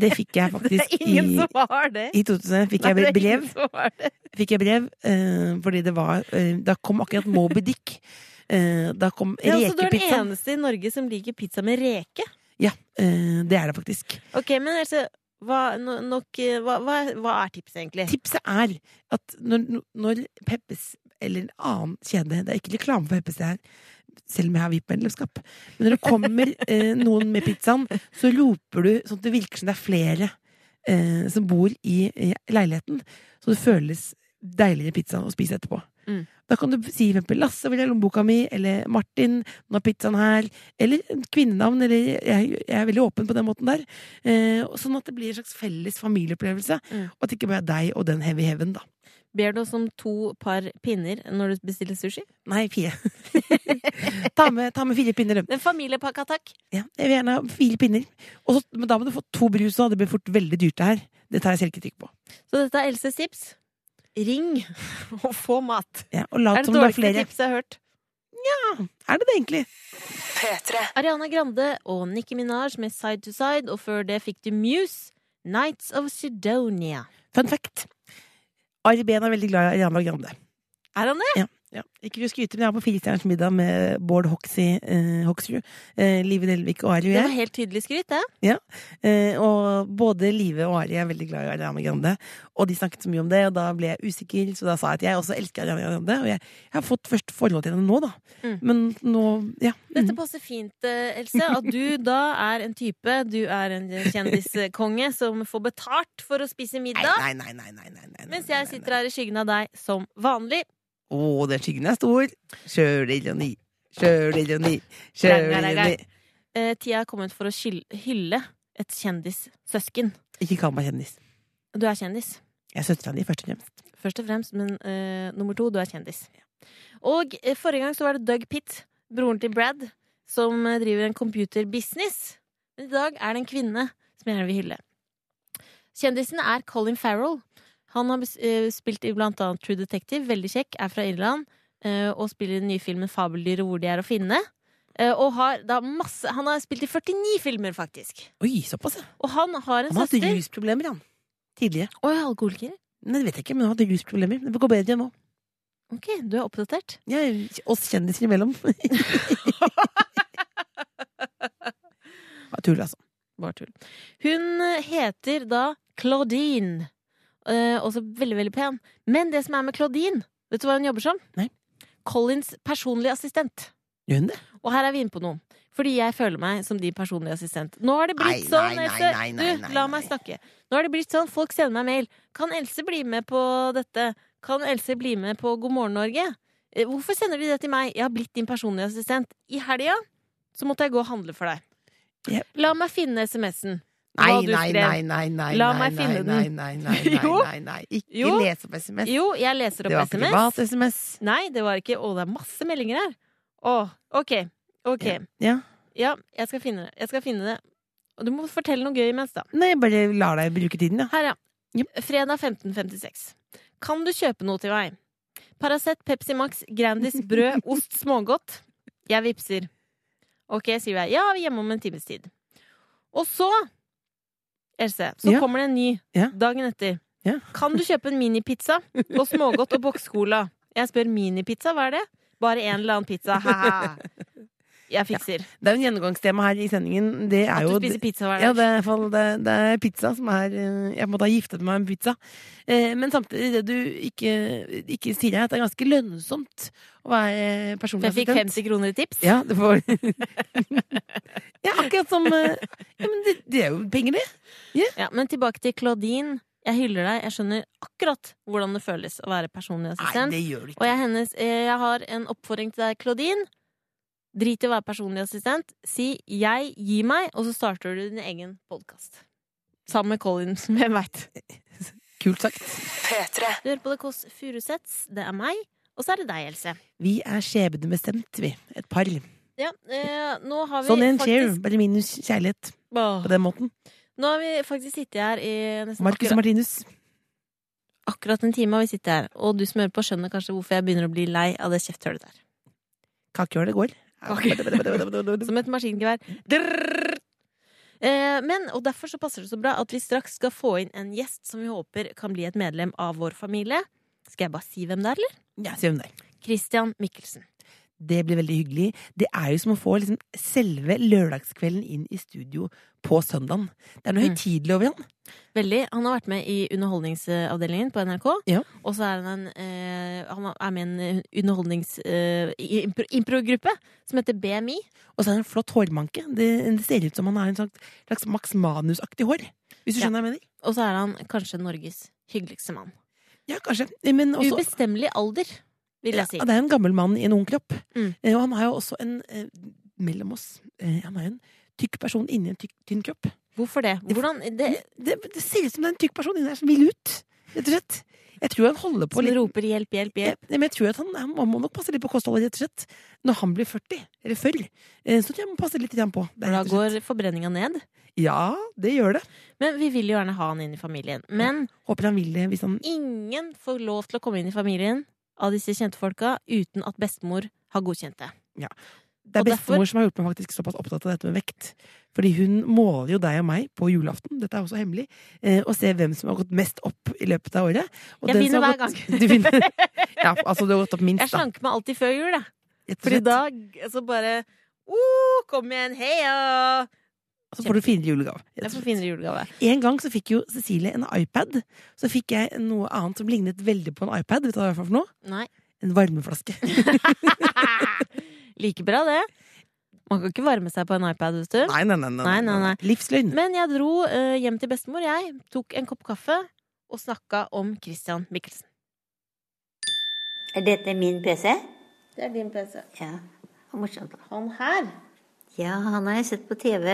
Speaker 3: Det fikk jeg
Speaker 2: Det er
Speaker 3: faktisk
Speaker 2: ingen
Speaker 3: i
Speaker 2: som har det!
Speaker 3: i 2001 fikk
Speaker 2: Nei, det
Speaker 3: jeg
Speaker 2: er
Speaker 3: brev
Speaker 2: ingen som har det.
Speaker 3: fikk jeg brev, eh, fordi det var eh, Da kom akkurat Moby Dick. Eh, da kom
Speaker 2: Ja, altså, du er den
Speaker 3: rekepizzaen.
Speaker 2: eneste i Norge som liker pizza med reke.
Speaker 3: Ja, eh, det er det faktisk.
Speaker 2: Ok, men Else, hva, no, nok, eh, hva, hva, hva er tipset egentlig?
Speaker 3: Tipset er at når, når Peppes eller en annen kjede Det er ikke reklame for Peppes, det her, selv om jeg har VIP-medlemskap. Men når det kommer eh, noen med pizzaen, så roper du sånn at det virker som det er flere eh, som bor i, i leiligheten. Så det føles deiligere pizza å spise etterpå.
Speaker 2: Mm.
Speaker 3: Da kan du si for eksempel 'Lasse, hvor er lommeboka mi?' eller 'Martin, nå er pizzaen her'. Eller kvinnenavn. Eller jeg, jeg er veldig åpen på den måten der. Eh, og sånn at det blir en slags felles familieopplevelse.
Speaker 2: Mm.
Speaker 3: Og at det ikke bare er deg og den heavy heaven, da.
Speaker 2: Ber du oss om to par pinner når du bestiller sushi?
Speaker 3: Nei, fire. ta, med, ta med fire pinner. du.
Speaker 2: En familiepakka, takk.
Speaker 3: Ja, jeg vil gjerne ha fire pinner. Og så, men da må du få to brus òg. Det blir fort veldig dyrt, det her. Det tar jeg selvkritikk på.
Speaker 2: Så dette er Elses tips. Ring og få mat.
Speaker 3: Ja, og
Speaker 2: Er
Speaker 3: lat
Speaker 2: det
Speaker 3: som det er
Speaker 2: dårligste
Speaker 3: flere.
Speaker 2: tipset jeg har hørt.
Speaker 3: Er det det, egentlig?
Speaker 2: Ariana Grande og Nicki Minaj med Side to Side, og før det fikk du Muse, Nights of Sidonia.
Speaker 3: Fun fact. Ari Behn er veldig glad i Ariana Grande.
Speaker 2: Er han det?
Speaker 3: Ja. Ikke for å skryte, men jeg var på Firestjerners middag med Bård Hoksrud, eh, Hoksrud, eh, Live Nelvik og Ari og
Speaker 2: Det
Speaker 3: jeg.
Speaker 2: var helt tydelig skryt, det.
Speaker 3: Eh, og både Live og Ari er veldig glad i Ariana Grande, og de snakket så mye om det, og da ble jeg usikker, så da sa jeg at jeg også elsker Ariana Grande, og jeg, jeg har fått først forhold til henne nå, da.
Speaker 2: Mm.
Speaker 3: Men nå, ja.
Speaker 2: Dette passer fint, eh, Else. At du da er en type. Du er en kjendiskonge som får betalt for å spise middag.
Speaker 3: Nei, nei, nei, nei, nei, nei, nei.
Speaker 2: Mens jeg sitter her i skyggen av deg som vanlig.
Speaker 3: Å, den skyggen er stor. Sjølironi. Sjølironi. Sjølironi.
Speaker 2: Eh, Tida er kommet for å skyl- hylle et kjendissøsken.
Speaker 3: Ikke kall meg kjendis.
Speaker 2: Du er kjendis,
Speaker 3: Jeg er søstera di, først og fremst.
Speaker 2: først og fremst, men eh, nummer to, du er kjendis. Og eh, forrige gang så var det Doug Pitt, broren til Brad, som eh, driver en computerbusiness. Men i dag er det en kvinne som jeg gjerne vil hylle. Kjendisen er Colin Farrell. Han har bes- eh, spilt i blant annet True Detective, veldig kjekk, er fra Irland, eh, og spiller i den nye filmen Fabeldyr og hvor de er å finne. Eh, Og har da masse Han har spilt i 49 filmer, faktisk.
Speaker 3: Oi, såpass, ja.
Speaker 2: Og han har en
Speaker 3: Han har hatt
Speaker 2: søster.
Speaker 3: rusproblemer, han. Tidligere.
Speaker 2: Å, jeg er alkoholiker.
Speaker 3: Nei, det vet jeg ikke, men han hadde rusproblemer. Det går bedre nå.
Speaker 2: Ok, du er oppdatert.
Speaker 3: Ja, oss kjendiser imellom. Ja, Tull, altså.
Speaker 2: Bare tull. Hun heter da Claudine. Eh, også veldig, veldig pen. Men det som er med Claudine, vet du hva hun jobber som?
Speaker 3: Nei.
Speaker 2: Collins personlige assistent.
Speaker 3: Gjør hun det?
Speaker 2: Og her er vi inne på noe. Fordi jeg føler meg som din personlige assistent. Nå har det blitt
Speaker 3: Nei,
Speaker 2: sånn,
Speaker 3: nei, nei,
Speaker 2: Else.
Speaker 3: nei, nei, nei,
Speaker 2: du, la
Speaker 3: nei.
Speaker 2: meg snakke. Nå har det blitt sånn, folk sender meg mail. Kan Else bli med på dette? Kan Else bli med på God morgen, Norge? Eh, Hvorfor sender de det til meg? Jeg har blitt din personlige assistent. I helga så måtte jeg gå og handle for deg.
Speaker 3: Ja.
Speaker 2: La meg finne SMS-en.
Speaker 3: Nei,
Speaker 2: Hva du
Speaker 3: nei,
Speaker 2: skrev.
Speaker 3: nei, nei, nei.
Speaker 2: La
Speaker 3: nei,
Speaker 2: meg
Speaker 3: nei,
Speaker 2: finne
Speaker 3: Nei,
Speaker 2: den.
Speaker 3: nei, nei, nei,
Speaker 2: Jo.
Speaker 3: nei, nei. Ikke
Speaker 2: Jo.
Speaker 3: les opp SMS.
Speaker 2: Jo, jeg leser
Speaker 3: Det
Speaker 2: opp
Speaker 3: var
Speaker 2: SMS.
Speaker 3: privat SMS.
Speaker 2: Nei, det var ikke Å, det er masse meldinger her. Å, ok. Ok. Ja,
Speaker 3: Ja.
Speaker 2: jeg skal finne det. Jeg skal finne det. Og du må fortelle noe gøy imens, da.
Speaker 3: Nei, jeg bare lar deg bruke tiden, ja.
Speaker 2: Her, ja.
Speaker 3: Jep.
Speaker 2: Fredag 15.56. Kan du kjøpe noe til meg? Paracet, Pepsi Max, Grandis, brød, ost, smågodt. Jeg vipser. Ok, sier jeg. Ja, vi er hjemme om en times tid. Og så, Else, så
Speaker 3: Ja.
Speaker 2: kommer det en ny
Speaker 3: Ja.
Speaker 2: dagen etter.
Speaker 3: Ja.
Speaker 2: Kan du kjøpe en minipizza og smågodt og bokscola? Jeg spør minipizza, hva er det? Bare en eller annen pizza. Ha-ha. Jeg fikser.
Speaker 3: Det er jo en gjennomgangstema her i sendingen. Det er
Speaker 2: At du
Speaker 3: jo
Speaker 2: spiser pizza hver
Speaker 3: Ja,
Speaker 2: dag.
Speaker 3: det er, i hvert fall- det, det er pizza som er eh, Jeg måtte ha giftet meg med pizza. Eh, Men samtidig, det du ikke, ikke sier, er at det er ganske lønnsomt å være personlig
Speaker 2: Jeg fikk 50 kroner i tips.
Speaker 3: Ja, det får Ja, akkurat som eh, Ja, men det, det er jo penger, det.
Speaker 2: Ja, men tilbake til Claudine. Jeg hyller deg. Jeg skjønner akkurat hvordan det føles å være personlig assistent.
Speaker 3: det gjør du
Speaker 2: Og jeg, er hennes, eh, jeg har en oppfordring til deg, Claudine. Drit i å være personlig assistent. Si 'jeg gir meg', og så starter du din egen podkast. Sammen med Colin, som jeg veit.
Speaker 3: Kult sagt.
Speaker 2: Du hører på The Kåss Furuseths. Det er meg. Og så er det deg, Else.
Speaker 3: Vi er skjebnebestemt, vi. Et par.
Speaker 2: Ja, eh, nå har vi
Speaker 3: Sånn en chair,
Speaker 2: faktisk
Speaker 3: bare minus kjærlighet. På
Speaker 2: Åh,
Speaker 3: den måten.
Speaker 2: Nå har vi faktisk sittet her i nesten
Speaker 3: Marcus
Speaker 2: akkurat,
Speaker 3: og Martinus.
Speaker 2: akkurat en time, har vi sittet her. og du som hører på, skjønner kanskje hvorfor jeg begynner å bli lei av det kjefthølet der.
Speaker 3: Kakehjørnet går.
Speaker 2: Som et maskingevær. Drrrr. Eh, men, og Derfor så passer det så bra at vi straks skal få inn en gjest som vi håper kan bli et medlem av vår familie. Skal jeg bare si hvem det er, eller?
Speaker 3: Ja, sier hun der.
Speaker 2: Christian Mikkelsen.
Speaker 3: Det blir veldig hyggelig. Det er jo som å få liksom selve lørdagskvelden inn i studio på søndagen. Det er noe
Speaker 2: Mm.
Speaker 3: høytidelig over han.
Speaker 2: Veldig. Han har vært med i Underholdningsavdelingen på NRK.
Speaker 3: Ja.
Speaker 2: Og så er han, en, eh, han er med i en underholdnings... Eh, i- impro- improgruppe som heter BMI.
Speaker 3: Og så er det en flott hårmanke. Det, det ser ut som han har en slags, slags Max Manus-aktig hår. Hvis du
Speaker 2: Ja.
Speaker 3: skjønner hva jeg mener?
Speaker 2: Og så er han kanskje Norges hyggeligste mann.
Speaker 3: Ja, kanskje. Men også,
Speaker 2: Ubestemmelig alder, vil jeg si.
Speaker 3: Ja, det er en gammel mann i en ung kropp.
Speaker 2: Mm.
Speaker 3: Eh, Og han er jo også en eh, mellom oss. Eh, han er jo en tykk person inni en tykk, tynn kropp.
Speaker 2: Hvorfor det? Hvordan, det
Speaker 3: Det, det ser ut som det er en tykk person inni der som vil ut, rett og slett. Jeg tror han holder på
Speaker 2: som
Speaker 3: litt
Speaker 2: roper 'hjelp, hjelp,
Speaker 3: Ja,
Speaker 2: hjelp'?
Speaker 3: men jeg tror at han, han må nok passe litt på kostholdet, rett og slett. Når han blir 40, eller før, eh, så tror jeg man passer litt grann på. Det er
Speaker 2: For da
Speaker 3: rett og
Speaker 2: går
Speaker 3: slett-
Speaker 2: forbrenninga ned.
Speaker 3: Ja, det gjør det.
Speaker 2: Men vi vil jo gjerne ha han inn i familien. Men
Speaker 3: Håper han vil det hvis han
Speaker 2: ingen får lov til å komme inn i familien av disse kjente folka uten at bestemor har godkjent det.
Speaker 3: Det er
Speaker 2: Og derfor-
Speaker 3: bestemor som har gjort meg faktisk såpass opptatt av dette med vekt. Fordi hun måler jo deg og meg på julaften, dette er også hemmelig, eh, og ser hvem som har gått mest opp i løpet av året. Og
Speaker 2: Jeg
Speaker 3: den
Speaker 2: vinner
Speaker 3: som har
Speaker 2: hver
Speaker 3: gått- Du vinner. ja, altså du har gått opp
Speaker 2: Jeg
Speaker 3: minst, da.
Speaker 2: slanker meg alltid før jul, jeg.
Speaker 3: Rett og
Speaker 2: Fordi
Speaker 3: slett.
Speaker 2: da så bare oh, Kom igjen, heia!
Speaker 3: Så får du finere julegave. rett og
Speaker 2: Jeg
Speaker 3: slett.
Speaker 2: får finere julegave.
Speaker 3: En gang så fikk jo Cecilie en iPad. Så fikk jeg noe annet som lignet veldig på en iPad. Vet du hva det var for noe?
Speaker 2: Nei.
Speaker 3: En varmeflaske.
Speaker 2: like bra, det. Man kan ikke varme seg på en iPad, vet du.
Speaker 3: Nei, nei, nei. nei,
Speaker 2: Nei, nei, nei.
Speaker 3: Livsløgn.
Speaker 2: Men jeg dro eh, hjem til bestemor, jeg. Tok en kopp kaffe og snakka om Christian Mikkelsen.
Speaker 4: Er dette min PC?
Speaker 2: Det er din PC.
Speaker 4: Ja. Hvor morsomt. da.
Speaker 2: Han her.
Speaker 4: Ja, han har jeg sett på TV.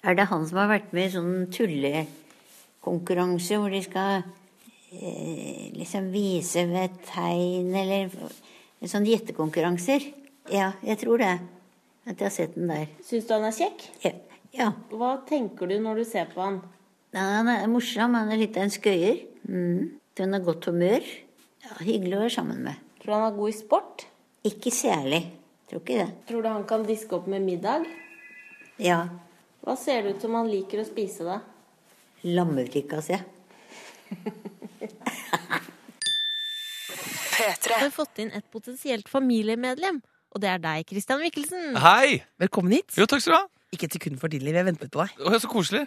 Speaker 4: Er det han som har vært med i sånn tullekonkurranse hvor de skal eh, liksom vise ved tegn eller Sånn gjettekonkurranser? Ja, jeg tror det. At jeg har sett den der.
Speaker 2: Syns du han er kjekk?
Speaker 4: Ja. ja.
Speaker 2: Hva tenker du når du ser på han?
Speaker 4: Nei, Han er morsom. Han er litt av en skøyer. Mm. Hun har godt humør. Ja, hyggelig å være sammen med.
Speaker 2: Tror du han er god i sport?
Speaker 4: Ikke særlig. Tror ikke det.
Speaker 2: Tror du han kan diske opp med middag?
Speaker 4: Ja.
Speaker 2: Hva ser det ut som han liker å spise, da?
Speaker 4: Lammefrikassé.
Speaker 2: Vi har fått inn et potensielt familiemedlem, og det er deg, Christian Mikkelsen.
Speaker 5: Hei!
Speaker 3: Velkommen hit.
Speaker 5: Jo, takk skal du ha.
Speaker 3: Ikke et sekund for tidlig. Vi har ventet på deg.
Speaker 5: Å, så koselig.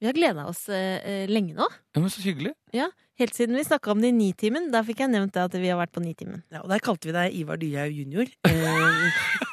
Speaker 2: Vi har gleda oss eh, eh, lenge nå.
Speaker 5: Ja, men Så hyggelig.
Speaker 2: Ja, Helt siden vi snakka om det i Nitimen. Da fikk jeg nevnt det at vi har vært på Nitimen.
Speaker 3: Ja, og der kalte vi deg Ivar Dyrhaug jr. Eh,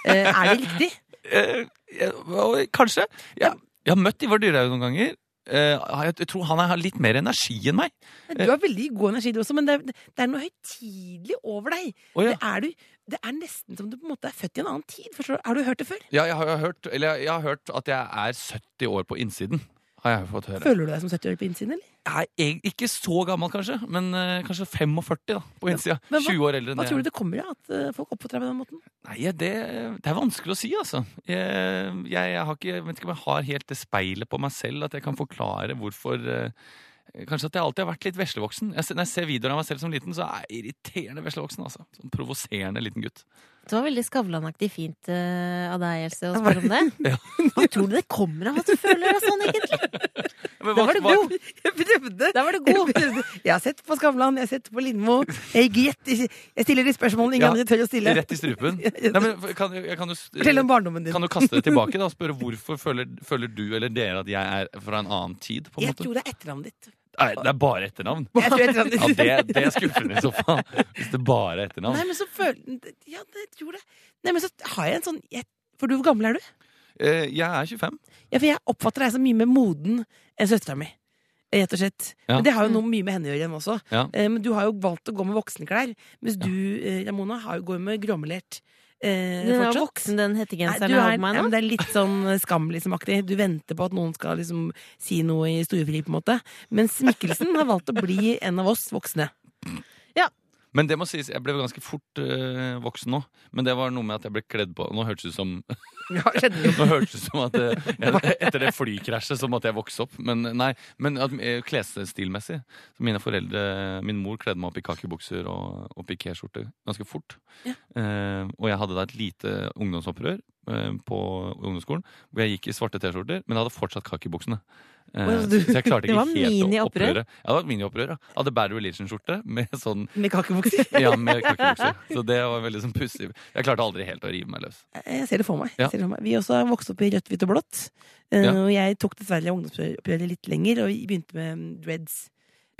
Speaker 3: eh, er det riktig?
Speaker 5: Eh, ja, og kanskje. Jeg, jeg har møtt Ivar Dyrhaug noen ganger. Eh, jeg, jeg tror han har litt mer energi enn meg.
Speaker 3: Du har veldig god energi, du også, men det er, det er noe høytidelig over deg.
Speaker 5: Å, ja.
Speaker 3: Det, er du, det er nesten som du på en måte er født i en annen tid. Forstår du? Har du hørt det før?
Speaker 5: Ja, jeg har, jeg, har hørt, eller jeg, jeg har hørt at jeg er 70 år på innsiden. Har jeg fått høre.
Speaker 3: Føler du deg som 70 år på innsiden, eller?
Speaker 5: Jeg er eg- ikke så gammel, kanskje, men eh, kanskje 45 da, på innsida.
Speaker 3: men hva-
Speaker 5: 20 år eldre enn
Speaker 3: Hva
Speaker 5: det.
Speaker 3: tror
Speaker 5: jeg
Speaker 3: du det kommer av at eh, folk oppfatter deg på den måten?
Speaker 5: er. Nei, det, det er vanskelig å si, altså. Jeg, jeg, jeg, har ikke, jeg vet ikke om jeg har helt det speilet på meg selv at jeg kan forklare hvorfor eh, Kanskje at jeg alltid har vært litt veslevoksen. Jeg, ser- når jeg ser videoer av meg selv som liten, så er jeg irriterende veslevoksen. altså. Sånn provoserende liten gutt.
Speaker 2: Det var veldig Skavlan-aktig fint eh, av deg, Else, å spørre om det.
Speaker 3: Hva tror du det kommer av at du føler deg sånn, egentlig?
Speaker 5: Men
Speaker 3: Det
Speaker 5: hva-
Speaker 3: var det
Speaker 5: hva-
Speaker 3: god. Jeg prøvde
Speaker 2: Der var du god!
Speaker 3: Jeg har sett på Skavlan, jeg har sett på Lindmo. Jeg, gjetter- jeg stiller de spørsmålene ingen
Speaker 5: Ja,
Speaker 3: andre tør å stille.
Speaker 5: Rett i strupen. Nei, men kan, jeg kan,
Speaker 3: Fortell
Speaker 5: du,
Speaker 3: om barndommen din.
Speaker 5: kan du kaste det tilbake da, og spørre hvorfor føler, føler du eller dere at jeg er fra en annen tid? på en
Speaker 3: jeg
Speaker 5: måte?
Speaker 3: tror det er etternavnet ditt.
Speaker 5: Nei, det er bare etternavn.
Speaker 3: Jeg tror etternavnet
Speaker 5: Ja,
Speaker 3: ditt.
Speaker 5: det, det er skuffende i så fall. Hvis det bare er etternavn.
Speaker 3: Nei, men så føler Ja, jeg tror det. Nei, men så har jeg en sånn jeg, For du, hvor gammel er du?
Speaker 5: Eh, Jeg er 25.
Speaker 3: Ja, for jeg oppfatter deg som mye mer moden enn søstera mi. Rett og slett.
Speaker 5: Ja.
Speaker 3: Men det har jo noe mye med henne å gjøre, hun også.
Speaker 5: Ja.
Speaker 3: Eh, Men du har jo valgt å gå med voksenklær, mens du, eh, Ramona, har jo går med gråmelert eh,
Speaker 2: Den er
Speaker 3: fortsatt.
Speaker 2: voksen, den
Speaker 3: Nei,
Speaker 2: hettegenseren
Speaker 3: du
Speaker 2: jeg
Speaker 3: er,
Speaker 2: har på meg
Speaker 3: ja,
Speaker 2: nå.
Speaker 3: men det er litt sånn eh, skam liksom, aktig. Du venter på at noen skal liksom, si noe i storefri, på en måte. Mens Mikkelsen har valgt å bli en av oss voksne.
Speaker 5: Men det må sies, jeg ble ganske fort eh, voksen nå. Men det var noe med at jeg ble kledd på Nå hørtes det ut som, nå hørtes det ut som at eh, jeg, etter det flykrasjet så måtte jeg vokse opp. Men nei, men at, eh, klesstilmessig. så Mine foreldre, Min mor kledde meg opp i kakebukser og, og pikéskjorte ganske fort. Eh, og jeg hadde da et lite ungdomsopprør eh, på ungdomsskolen hvor jeg gikk i svarte T-skjorter, men jeg hadde fortsatt kakebuksene. Eh,
Speaker 3: Å, du-
Speaker 5: så jeg klarte
Speaker 2: det
Speaker 5: ikke
Speaker 2: var
Speaker 5: helt å
Speaker 2: mini-opprør.
Speaker 5: opprøre. Ja, det var et mini-opprør, ja. Jeg hadde Bad Religion-skjorte med sånn
Speaker 3: Med kakebukser.
Speaker 5: ja, med kakebukser. Så det var veldig sånn pussig. Jeg klarte aldri helt å rive meg løs.
Speaker 3: Jeg ser det for meg.
Speaker 5: Ja.
Speaker 3: Jeg ser det for meg. Vi også har vokst opp i rødt, hvitt og blått. Eh,
Speaker 5: Ja.
Speaker 3: Og jeg tok dessverre ungdomsoppgjøret litt lenger og begynte med mm, dreads.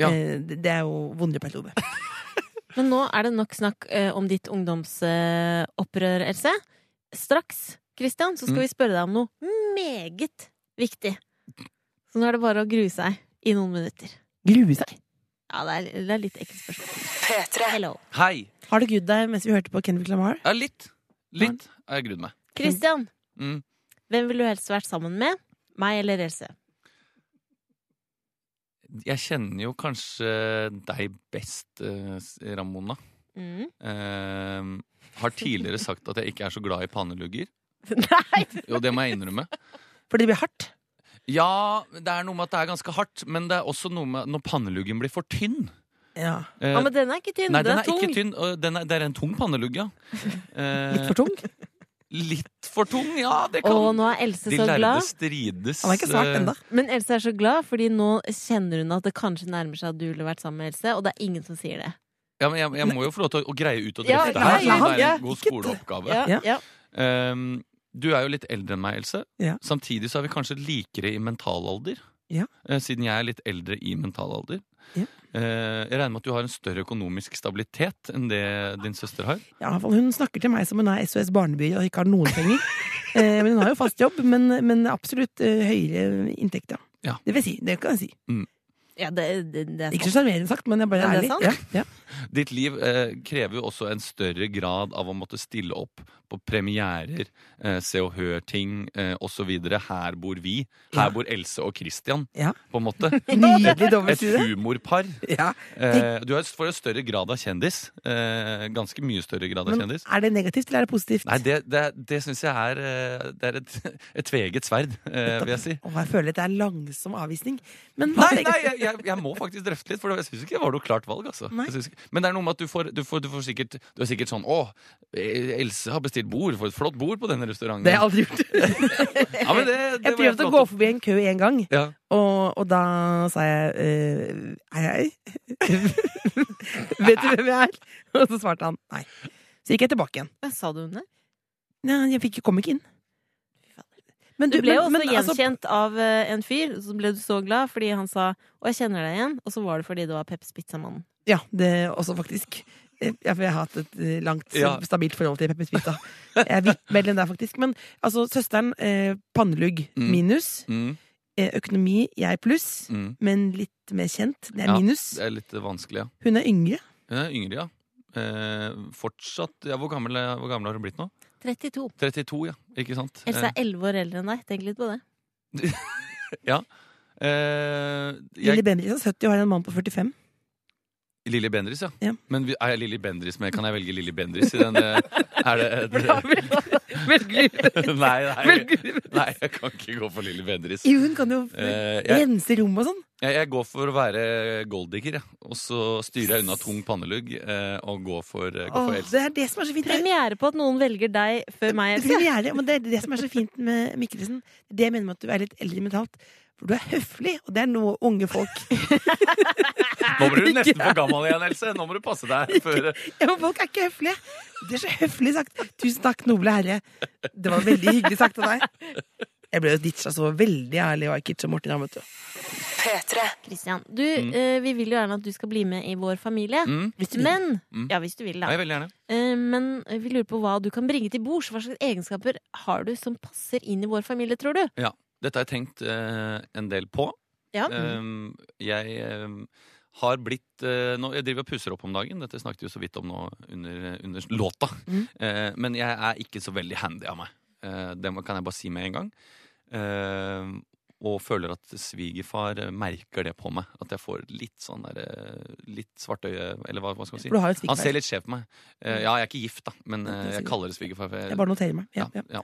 Speaker 5: Ja.
Speaker 3: Eh, Det det er jo vondere periode.
Speaker 2: Men nå er det nok snakk eh, om ditt ungdomsopprør, Else. Straks, Christian, så skal
Speaker 5: Mm.
Speaker 2: vi spørre deg om noe meget viktig. Så nå er det bare å grue seg i noen minutter.
Speaker 3: Grue seg.
Speaker 2: Ja, det er, det er litt ekkelt spørsmål. Hello.
Speaker 5: Hei!
Speaker 3: Har du grudd deg mens vi hørte på Kendrick Lamar?
Speaker 5: Ja, litt. Litt har jeg grudd meg.
Speaker 2: Christian,
Speaker 5: Mm.
Speaker 2: hvem ville du helst vært sammen med? Meg eller Else?
Speaker 5: Jeg kjenner jo kanskje deg best, eh, Ramona.
Speaker 2: Mm.
Speaker 5: Eh, har tidligere sagt at jeg ikke er så glad i pannelugger.
Speaker 2: Nei!
Speaker 5: Jo, det må jeg innrømme.
Speaker 3: For det blir hardt.
Speaker 5: Ja, det er noe med at det er ganske hardt, men det er også noe med når panneluggen blir for tynn.
Speaker 3: Ja.
Speaker 5: Eh,
Speaker 2: Ja, men den er ikke tynn.
Speaker 5: nei,
Speaker 2: den,
Speaker 5: den er
Speaker 2: tung.
Speaker 5: ikke tynn. og Den er, det er en tung pannelugg, ja. Eh,
Speaker 3: Litt for tung.
Speaker 5: litt for tung, ja. Det kan
Speaker 2: Og nå er Else
Speaker 5: De
Speaker 2: så
Speaker 5: lærde
Speaker 2: glad.
Speaker 5: strides.
Speaker 3: Han er ikke svart
Speaker 5: eh,
Speaker 3: ennå.
Speaker 2: Men Else er så glad, fordi nå kjenner hun at det kanskje nærmer seg at du ville vært sammen med Else, og det er ingen som sier det.
Speaker 5: Ja, men jeg, jeg må jo få lov til å, å greie ut og
Speaker 2: Ja,
Speaker 5: drøfte det
Speaker 2: ja,
Speaker 5: her.
Speaker 2: ja,
Speaker 5: så det
Speaker 3: ja,
Speaker 5: er en god
Speaker 3: ikke det.
Speaker 5: skoleoppgave.
Speaker 3: Ja.
Speaker 2: ja.
Speaker 5: Ehm, du er jo litt eldre enn meg, Else.
Speaker 3: Ja.
Speaker 5: Samtidig så er vi kanskje likere i mentalalder.
Speaker 3: Ja.
Speaker 5: Eh, Siden jeg er litt eldre i mentalalder.
Speaker 3: Ja.
Speaker 5: Eh, Jeg regner med at du har en større økonomisk stabilitet enn det din søster har.
Speaker 3: Ja, i hvert fall, hun snakker til meg som hun er SOS Barneby og ikke har noen penger. Eh, men hun har jo fast jobb, men, men absolutt eh, høyere inntekt, ja.
Speaker 5: Ja.
Speaker 3: Det vil si, det kan jeg si.
Speaker 2: Ja, det, det, det er
Speaker 3: Ikke
Speaker 2: sant.
Speaker 3: så sjarmerende sagt, men jeg bare
Speaker 2: Ja,
Speaker 3: er
Speaker 2: det er
Speaker 3: ærlig. Ja, ja.
Speaker 5: Ditt liv eh, krever jo også en større grad av å måtte stille opp på premierer, eh, Se og Hør-ting eh, osv. Her bor vi. Her
Speaker 3: Ja.
Speaker 5: bor Else og Christian,
Speaker 3: Ja.
Speaker 5: på en måte.
Speaker 3: Nydelig
Speaker 5: Et
Speaker 3: dobbeltstudie.
Speaker 5: humorpar.
Speaker 3: Ja.
Speaker 5: Eh, du har- får en større grad av kjendis. Eh, ganske mye større grad av
Speaker 3: Men
Speaker 5: kjendis.
Speaker 3: er det negativt, eller er det positivt?
Speaker 5: Nei, det, det, det syns jeg er eh, Det er et, et tveget sverd, eh, vil jeg si.
Speaker 3: Åh, jeg føler at det er langsom avvisning. Men hva
Speaker 5: Nei,
Speaker 3: tenker-
Speaker 5: nei jeg, jeg, jeg må faktisk drøfte litt, for jeg syns ikke det var noe klart valg. Altså.
Speaker 3: Nei.
Speaker 5: Jeg synes ikke- Men det er noe med at du får, du får, du får sikkert Du er sikkert sånn Å, eh, Else har bestilt bord. For et flott bord på denne restauranten.
Speaker 3: Det har jeg aldri gjort.
Speaker 5: ja, men det, det
Speaker 3: Jeg
Speaker 5: var helt
Speaker 3: prøvde å gå
Speaker 5: flott.
Speaker 3: forbi en kø en gang,
Speaker 5: Ja.
Speaker 3: og, og da sa jeg eh, Hei, hei. Vet du hvem jeg er? Og så svarte han nei. Så gikk jeg tilbake igjen.
Speaker 2: Hva Sa du hun det?
Speaker 3: Nei, jeg fikk, kom ikke inn. Men
Speaker 2: Du ble jo
Speaker 3: men-
Speaker 2: også
Speaker 3: men, altså,
Speaker 2: gjenkjent av eh, en fyr, så ble du så glad fordi han sa 'Å, jeg kjenner deg igjen', og så var det fordi det var Peppers Pizzamannen.
Speaker 3: ja, det også faktisk. eh, Ja, for jeg har hatt et eh, langt,
Speaker 5: Ja.
Speaker 3: stabilt forhold til Peppers Pizza. Jeg er vidt medlem der, faktisk. Men altså, søsteren eh, pannelugg
Speaker 5: Mm.
Speaker 3: minus.
Speaker 5: Mm,
Speaker 3: Eh, økonomi jeg pluss.
Speaker 5: mm.
Speaker 3: Men litt mer kjent. Det er
Speaker 5: Ja.
Speaker 3: minus.
Speaker 5: Det er litt vanskelig, ja.
Speaker 3: Hun er yngre.
Speaker 5: Hun er yngre, ja. Eh, fortsatt ja, hvor, gammel, er- hvor gammel har hun blitt nå?
Speaker 2: 32.
Speaker 5: 32, ja. Ikke sant?
Speaker 2: Else er 11 år eldre enn deg. Tenk litt på det.
Speaker 5: Eh, eh,
Speaker 3: Lille
Speaker 5: jeg,
Speaker 3: Bendriss er 70 og har en mann på 45.
Speaker 5: Lilly Bendriss, ja.
Speaker 3: Ja.
Speaker 5: Men vi- er jeg Lilly Bendriss med? Kan jeg velge Lilly Bendriss i denne Er det, Nei, nei, nei, jeg kan ikke gå for Lilly Bendriss.
Speaker 3: Jo, hun kan jo
Speaker 5: Eh, jeg,
Speaker 3: rense rom og sånn.
Speaker 5: jeg, jeg går for å være golddigger, jeg. Og så styrer jeg unna tung pannelugg eh, og går for, eh, går for
Speaker 3: Åh,
Speaker 5: Else.
Speaker 3: det er det som er så fint. Det er-
Speaker 2: Premiere på at noen velger deg før meg,
Speaker 3: det
Speaker 2: Else.
Speaker 3: er, premiere, men det, er det som er så fint med Mikkelsen. Det jeg mener med at du er litt eldre mentalt. For du er høflig, og det er noe unge folk
Speaker 5: Nå blir du nesten for gammel igjen, Else. Nå må du passe deg. Før...
Speaker 3: Ja, men folk er ikke høflige! Det er så høflig sagt. Tusen takk, noble herre. Det var veldig hyggelig sagt av deg. Jeg ble jo ditcha så veldig ærlig av Kitsch og Morten Ramm, vet du.
Speaker 2: Christian, du, eh, vi vil jo gjerne at du skal bli med i vår familie.
Speaker 5: Mm.
Speaker 3: Hvis du vil.
Speaker 2: Men
Speaker 5: Mm.
Speaker 2: Ja, hvis du vil,
Speaker 5: Ja,
Speaker 2: da.
Speaker 5: jeg vil gjerne.
Speaker 2: Eh, Men vi lurer på hva du kan bringe til bords. Hva slags egenskaper har du som passer inn i vår familie, tror du?
Speaker 5: Dette har jeg tenkt eh, en del på.
Speaker 2: Ja.
Speaker 5: Um, jeg um, har blitt eh, nå, Jeg driver og pusser opp om dagen. Dette snakket vi jo så vidt om nå under, under låta.
Speaker 3: Mhm.
Speaker 5: Eh, men jeg er ikke så veldig handy av meg. Eh, det må- kan jeg bare si med en gang. Eh, og føler at svigerfar eh, merker det på meg. At jeg får litt sånn der, eh, Litt svartøye, eller hva, hva skal man si.
Speaker 3: For du har Mm. jo et
Speaker 5: Han ser
Speaker 3: stikkverk.
Speaker 5: litt skjev på meg. Eh, ja, jeg er ikke gift, da, men eh, jeg
Speaker 3: sikkert.
Speaker 5: kaller det svigerfar. for jeg-
Speaker 3: Jeg bare noterer meg. Ja, ja.
Speaker 5: ja.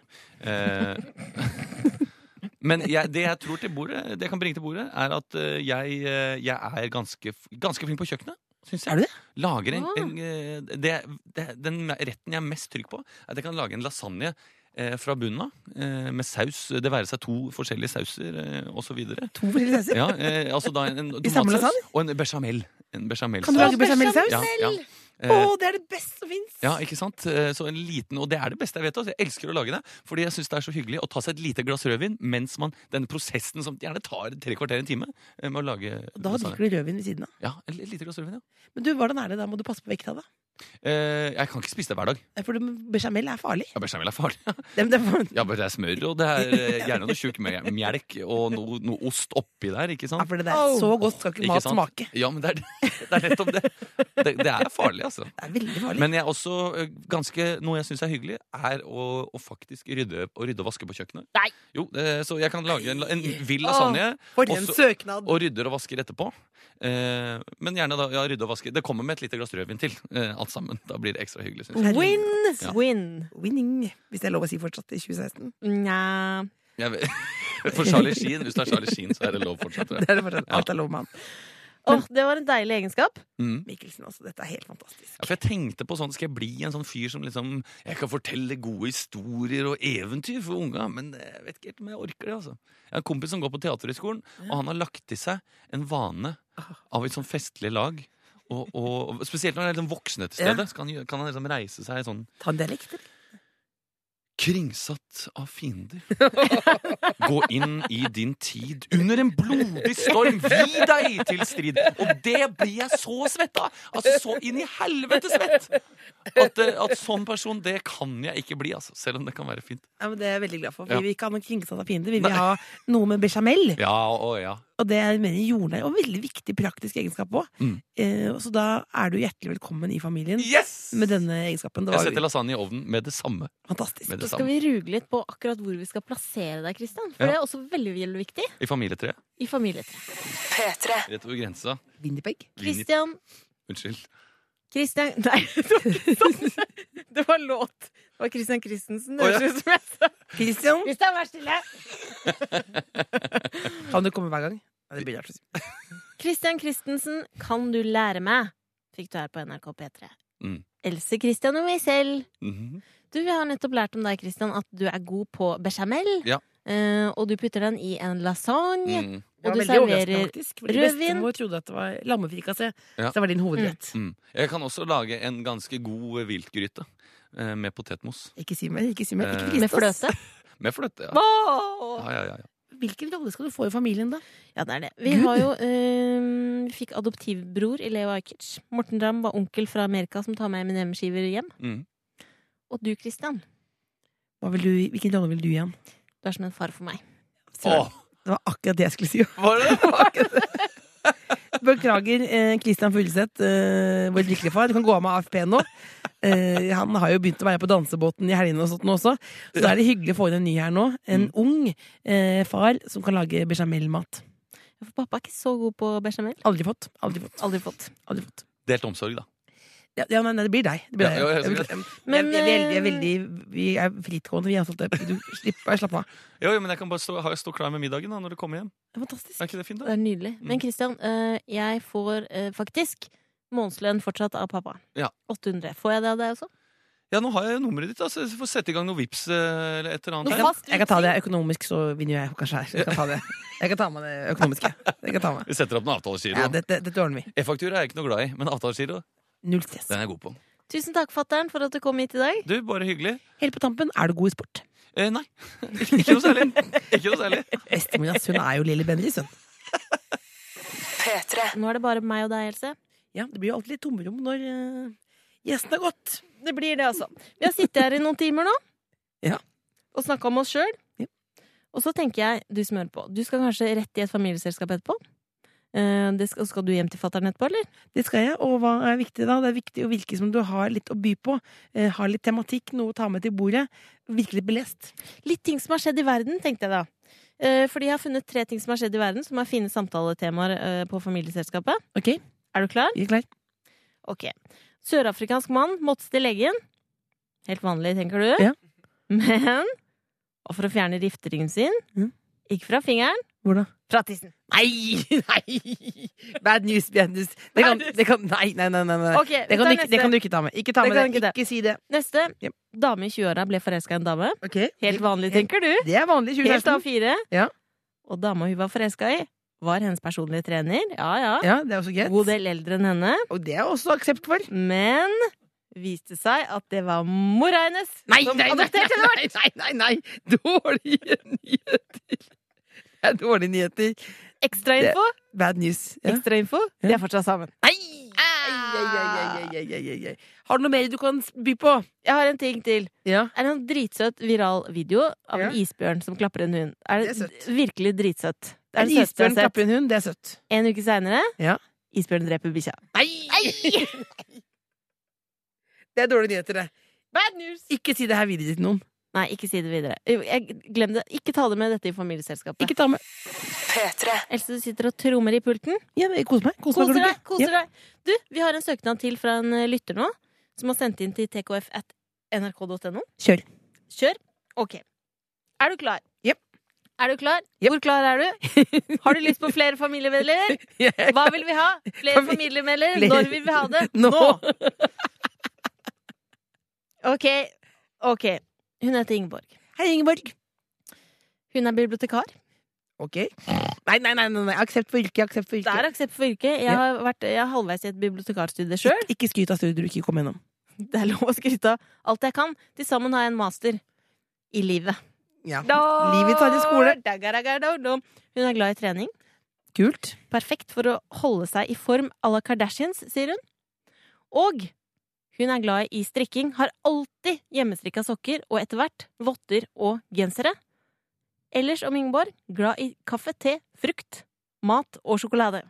Speaker 5: Eh, men jeg, det jeg tror til bordet, det jeg kan bringe til bordet, er at eh, jeg, eh, jeg er ganske, f- ganske flink på kjøkkenet. Syns jeg.
Speaker 3: Er du det?
Speaker 5: Lager en,
Speaker 2: Ah.
Speaker 5: en, eh, det, det, den retten jeg er mest trygg på, er at jeg kan lage en lasagne eh, fra bunnen av. eh, med saus. Det være seg to forskjellige sauser eh, og så videre.
Speaker 3: To forskjellige sauser.
Speaker 5: Ja, eh, altså da en, en
Speaker 3: I samme
Speaker 5: tomatsaus
Speaker 3: lasagne?
Speaker 5: og en bechamel. En bechamel
Speaker 3: Kan du lage bechamelsaus?
Speaker 5: ja, ja.
Speaker 3: Å,
Speaker 5: Eh,
Speaker 3: det er det beste som fins!
Speaker 5: ja, ikke sant? Eh, Så en liten, Og det er det beste jeg vet. Altså. Jeg elsker å lage det, fordi jeg syns det er så hyggelig å ta seg et lite glass rødvin mens man Denne prosessen som gjerne tar tre kvarter, en time, eh, med å lage
Speaker 3: Da
Speaker 5: lasagne.
Speaker 3: drikker du rødvin ved siden av.
Speaker 5: Ja, et lite glass rødvin, ja.
Speaker 3: Men du, hvordan er det da? Må du passe på vekta, da?
Speaker 5: Eh, Jeg kan ikke spise det hver dag.
Speaker 3: For det- bechamel er farlig.
Speaker 5: Ja, Bechamel er farlig.
Speaker 3: Det, det, for,
Speaker 5: Ja, men det er smør, og det er eh, gjerne noe tjukk mel- melk og noe, noe ost oppi der, ikke
Speaker 3: ja,
Speaker 5: sant?
Speaker 3: for det der, så godt skal ikke
Speaker 5: Ikke
Speaker 3: mat
Speaker 5: sant?
Speaker 3: smake.
Speaker 5: Ja, men det er, det er nettopp det. det. Det er farlig, altså.
Speaker 3: Det er veldig farlig.
Speaker 5: Men jeg er også ø, ganske, noe jeg syns er hyggelig, er å, å faktisk rydde, å rydde og vaske på kjøkkenet.
Speaker 2: Nei.
Speaker 5: Jo, eh, Så jeg kan lage en, la- en vill lasagne
Speaker 3: For en
Speaker 5: også-
Speaker 3: søknad!
Speaker 5: og rydder og vasker etterpå. Eh, men gjerne da, ja, rydde og vaske. Det kommer med et lite glass rødvin til, eh, alt sammen. Da blir det ekstra hyggelig, syns jeg.
Speaker 3: Herregud.
Speaker 2: Win!
Speaker 5: Ja.
Speaker 2: Win!
Speaker 3: Winning, hvis det er lov å si fortsatt i 2016.
Speaker 2: Nja
Speaker 5: jeg vet- For Charlie Sheen, hvis det er Charlie Sheen, så er det lov fortsatt. tror
Speaker 3: Det
Speaker 5: jeg.
Speaker 3: er det fortsatt.
Speaker 5: Ja.
Speaker 3: Alt er lov med han.
Speaker 2: Åh, det var en deilig egenskap.
Speaker 5: Mm.
Speaker 3: Mikkelsen også. Dette er helt fantastisk.
Speaker 5: Ja, for jeg tenkte på sånn, Skal jeg bli en sånn fyr som liksom Jeg kan fortelle gode historier og eventyr for unga, men jeg vet ikke helt om jeg orker det. altså Jeg har en kompis som går på Teaterhøgskolen, og han har lagt til seg en vane av et sånn festlig lag. Og, og, og Spesielt når det er liksom voksne til
Speaker 3: Ja.
Speaker 5: stede, så kan, han gjø- kan han liksom reise seg sånn
Speaker 3: Ta en dialekt, eller?
Speaker 5: Kringsatt av fiender. Gå inn i din tid under en blodig storm. Vi deg til strid. Og det blir jeg så svett av! Altså så inn i helvete svett! At, eh, at sånn person, det kan jeg ikke bli, altså. Selv om det kan være fint.
Speaker 3: Ja, men det er jeg veldig glad for. for
Speaker 5: Ja.
Speaker 3: Vi vil ikke ha noen kringsatt av fiender. Vi vil ha noe med bechamel.
Speaker 5: Ja og ja.
Speaker 3: Og det er mener jordnær og veldig viktig praktisk egenskap òg.
Speaker 5: Mm.
Speaker 3: Eh, og så da er du hjertelig velkommen i familien
Speaker 5: Yes!
Speaker 3: med denne egenskapen. Det
Speaker 5: Jeg
Speaker 3: var
Speaker 5: setter lasagne i ovnen med det samme.
Speaker 3: fantastisk.
Speaker 5: Med
Speaker 2: Så
Speaker 5: det
Speaker 2: skal
Speaker 5: samme.
Speaker 2: vi ruge litt på akkurat hvor vi skal plassere deg, Christian. For
Speaker 5: Ja.
Speaker 2: det er også veldig, veldig viktig
Speaker 5: I familietreet.
Speaker 2: i familietreet.
Speaker 5: Rett over grensa.
Speaker 3: Winnipeg.
Speaker 5: Vin i-
Speaker 2: Christian
Speaker 5: Unnskyld.
Speaker 2: Christian Nei, det var ikke sånn. Det var låt. Det var Christian Christensen. Det
Speaker 5: Å, ja.
Speaker 2: høres ut som jeg sa.
Speaker 3: Christian,
Speaker 2: Christian, vær stille!
Speaker 3: kan du komme hver gang? Ja, det blir rart å si.
Speaker 2: Christian Christensen, kan du lære meg? Fikk du her på NRK P3.
Speaker 5: Mm.
Speaker 2: Else Christian og meg selv.
Speaker 5: Mhm.
Speaker 2: Du, Vi har nettopp lært om deg, Christian, at du er god på bechamel.
Speaker 5: Ja.
Speaker 2: Eh, og du putter den i en lasagne.
Speaker 5: Mm.
Speaker 3: Det
Speaker 2: Og
Speaker 3: var
Speaker 2: du
Speaker 3: veldig overraskende,
Speaker 2: serverer
Speaker 3: faktisk, fordi
Speaker 2: rødvin.
Speaker 3: Bestemor trodde at det var lammefrikassé.
Speaker 5: Ja.
Speaker 3: Så det var din hovedrett.
Speaker 5: Mm. Jeg kan også lage en ganske god viltgryte eh, med potetmos.
Speaker 3: Ikke si mer. ikke si mer.
Speaker 5: Eh,
Speaker 3: Ikke
Speaker 2: Med
Speaker 3: frist oss.
Speaker 2: fløte.
Speaker 5: Med fløte. Ja.
Speaker 2: Åh!
Speaker 5: Ja, ja, ja, ja.
Speaker 3: Hvilken rolle skal du få i familien, da?
Speaker 2: Ja, det er det. Vi
Speaker 3: Gud.
Speaker 2: har jo eh, Vi fikk adoptivbror i Leo Ajkic. Morten Ramm var onkel fra Amerika som tar med M&M-skiver hjem.
Speaker 5: Mm.
Speaker 2: Og du, Christian,
Speaker 3: Hva vil du, hvilken rolle vil du igjen?
Speaker 2: du er som en far for meg.
Speaker 3: Søren. Det var akkurat det jeg skulle si.
Speaker 5: var det det?
Speaker 3: Beklager, eh, Christian Fugleseth, eh, vår lykkelige far. Du kan gå av med AFP nå. Eh, han har jo begynt å være på dansebåten i helgene og sånt nå også. Så da er det hyggelig å få inn en ny her nå. En ung eh, far som kan lage bechamelmat.
Speaker 2: For pappa er ikke så god på bechamel.
Speaker 3: Aldri fått. Aldri fått.
Speaker 2: Aldri fått.
Speaker 3: Aldri fått.
Speaker 5: Delt omsorg, da.
Speaker 3: Ja, ja nei, nei, det blir deg. Det blir
Speaker 5: Ja, ja,
Speaker 3: deg.
Speaker 5: ja, så
Speaker 3: Jeg-
Speaker 2: Men,
Speaker 3: jeg- jeg- jeg er veldig- Vi er fritgående, vi. Er sånt, du slipper, slapp av.
Speaker 5: Jo, jo, men jeg kan bare stå, ha- stå klar med middagen da, når du kommer hjem.
Speaker 3: Det er fantastisk. Mm.
Speaker 5: Er ikke det fint,
Speaker 2: Det
Speaker 5: da?
Speaker 2: er nydelig. Men Christian, eh, jeg får eh, faktisk månedslønn fortsatt av pappa.
Speaker 5: Ja.
Speaker 2: 800. Får jeg det av deg også?
Speaker 5: Ja, nå har jeg jo nummeret ditt, da, så jeg får sette i gang noe vips eh, eller et eller annet.
Speaker 2: Noe
Speaker 5: her.
Speaker 2: fast
Speaker 3: Jeg kan ta det økonomisk, så vinner jeg kanskje her. Jeg kan ta, det. Jeg kan ta med det økonomiske. Jeg kan ta med.
Speaker 5: Vi setter opp en avtalegiro.
Speaker 3: Ja, dette, dette ordner vi.
Speaker 5: E-faktura er jeg ikke noe glad i, men avtalegiro
Speaker 3: Null stress.
Speaker 5: den er jeg god på.
Speaker 2: Tusen takk, fatter'n, for at du kom hit i dag.
Speaker 5: Du, bare hyggelig.
Speaker 3: Helt på tampen, er du god i sport?
Speaker 5: Eh, nei. ikke noe særlig. Ikke noe særlig.
Speaker 3: Bestemoren hans hun er jo Lilly Bendriss, hun.
Speaker 2: Nå er det bare meg og deg, Else.
Speaker 3: Ja, det blir jo alltid litt tomrom når eh, gjesten har gått.
Speaker 2: Det blir det, altså. Vi har sittet her i noen timer nå
Speaker 3: Ja.
Speaker 2: og snakka om oss sjøl.
Speaker 3: Ja.
Speaker 2: Og så tenker jeg, du som hører på, du skal kanskje rett i et familieselskap etterpå? Eh, det skal, skal du hjem til fatter'n etterpå, eller?
Speaker 3: Det skal jeg, og hva er viktig da? Det er viktig å virke som du har litt å by på. eh, Har litt tematikk, noe å ta med til bordet. Virke litt belest.
Speaker 2: Litt ting som har skjedd i verden, tenkte jeg da. Eh, fordi jeg har funnet tre ting som har skjedd i verden, som er fine samtaletemaer eh, på familieselskapet.
Speaker 3: Ok,
Speaker 2: Er du klar?
Speaker 3: vi er klar.
Speaker 2: Ok. Sørafrikansk mann måtte til legen. Helt vanlig, tenker du.
Speaker 3: Ja.
Speaker 2: Men og for å fjerne rifteringen sin
Speaker 3: Mhm.
Speaker 2: Ikke fra fingeren,
Speaker 3: Hvor da?
Speaker 2: fra tissen.
Speaker 3: Nei! Nei! Bad news, bad news. Det kan, det kan, nei, nei, nei. nei, nei.
Speaker 2: Ok, vi tar
Speaker 3: Det, kan du ikke,
Speaker 2: neste.
Speaker 3: det kan du ikke ta med. Ikke ta
Speaker 2: Det
Speaker 3: med
Speaker 2: kan
Speaker 3: det.
Speaker 2: ikke
Speaker 3: Ikke,
Speaker 2: det.
Speaker 3: si det.
Speaker 2: Neste.
Speaker 3: Ja.
Speaker 2: Dame i 20-åra ble forelska i en dame. Helt vanlig,
Speaker 3: Helt-
Speaker 2: tenker du.
Speaker 3: Det er vanlig i
Speaker 2: Helt
Speaker 3: 2016.
Speaker 2: A4.
Speaker 3: Ja.
Speaker 2: Og dama hun var forelska i, var hennes personlige trener. Ja, ja.
Speaker 3: Ja, det er også
Speaker 2: God
Speaker 3: greit.
Speaker 2: del eldre enn henne.
Speaker 3: Og det er også aksept for.
Speaker 2: Men viste seg at det var mora hennes
Speaker 3: Nei,
Speaker 2: som
Speaker 3: nei, nei,
Speaker 2: adopterte henne!
Speaker 3: nei, nei, nei, nei. Dårlige nyheter. Det er dårlige nyheter.
Speaker 2: Ekstrainfo!
Speaker 3: Bad news. Ja.
Speaker 2: Ekstrainfo.
Speaker 3: Ja.
Speaker 2: De er fortsatt sammen.
Speaker 3: Nei! Ei, ei, ei, ei, ei, ei, ei, ei. Har du noe mer du kan by på?
Speaker 2: Jeg har en ting til.
Speaker 3: Ja.
Speaker 2: er en dritsøt viral video av en isbjørn som klapper en hund. Er
Speaker 3: Det er
Speaker 2: det
Speaker 3: søtt.
Speaker 2: d- virkelig dritsøtt. Det er
Speaker 3: En
Speaker 2: det søteste
Speaker 3: isbjørn
Speaker 2: jeg har sett.
Speaker 3: klapper en hund, det er søtt.
Speaker 2: En uke seinere
Speaker 3: Ja.
Speaker 2: isbjørn dreper bikkja.
Speaker 3: Nei! Det er dårlige nyheter, det.
Speaker 2: Bad news!
Speaker 3: Ikke si det her videre til noen.
Speaker 2: Nei, ikke si det videre. Jo, Jeg glem det. Ikke ta det med dette i familieselskapet.
Speaker 3: Ikke ta med.
Speaker 2: Else, du sitter og trommer i pulten.
Speaker 3: Ja, men Kos meg. Kos
Speaker 2: Koser
Speaker 3: meg, går det
Speaker 2: deg!
Speaker 3: ikke?
Speaker 2: koser deg Du, vi har en søknad til fra en eh, lytter nå, som har sendt inn til tkf at nrk.no.
Speaker 3: Ja. Kjør.
Speaker 2: Kjør. Ok. Er du klar?
Speaker 3: Jep.
Speaker 2: Er du klar?
Speaker 3: Jep.
Speaker 2: Hvor klar er du? Har du lyst på flere familiemedlemmer? Hva vil vi ha? Flere
Speaker 3: Kan vi-
Speaker 2: familiemedlemmer?
Speaker 3: Flere-
Speaker 2: Når vil vi ha det?
Speaker 3: Nå!
Speaker 2: Ok. ok Hun heter Ingeborg.
Speaker 3: Hei, Ingeborg.
Speaker 2: Hun er bibliotekar.
Speaker 3: Ok. Nei, nei, nei, nei, nei. aksept for yrket. Aksept for
Speaker 2: Det er
Speaker 3: yrket.
Speaker 2: aksept for yrket. Jeg,
Speaker 3: Ja.
Speaker 2: har vært- jeg er halvveis i et bibliotekarstudie sjøl.
Speaker 3: Ikke skryt av studier du ikke kom gjennom.
Speaker 2: Det er lov å skryte av alt jeg kan. Til sammen har jeg en master i livet.
Speaker 3: Ja.
Speaker 2: Da-
Speaker 3: Livet tar i skole.
Speaker 2: Dagaragardardom. Hun er glad i trening.
Speaker 3: Kult.
Speaker 2: Perfekt for å holde seg i form à la Kardashians, sier hun. Og hun er glad i strikking, har alltid hjemmestrikka sokker og etter hvert votter og gensere. Ellers om Ingeborg glad i kaffe, te, frukt, mat og sjokolade.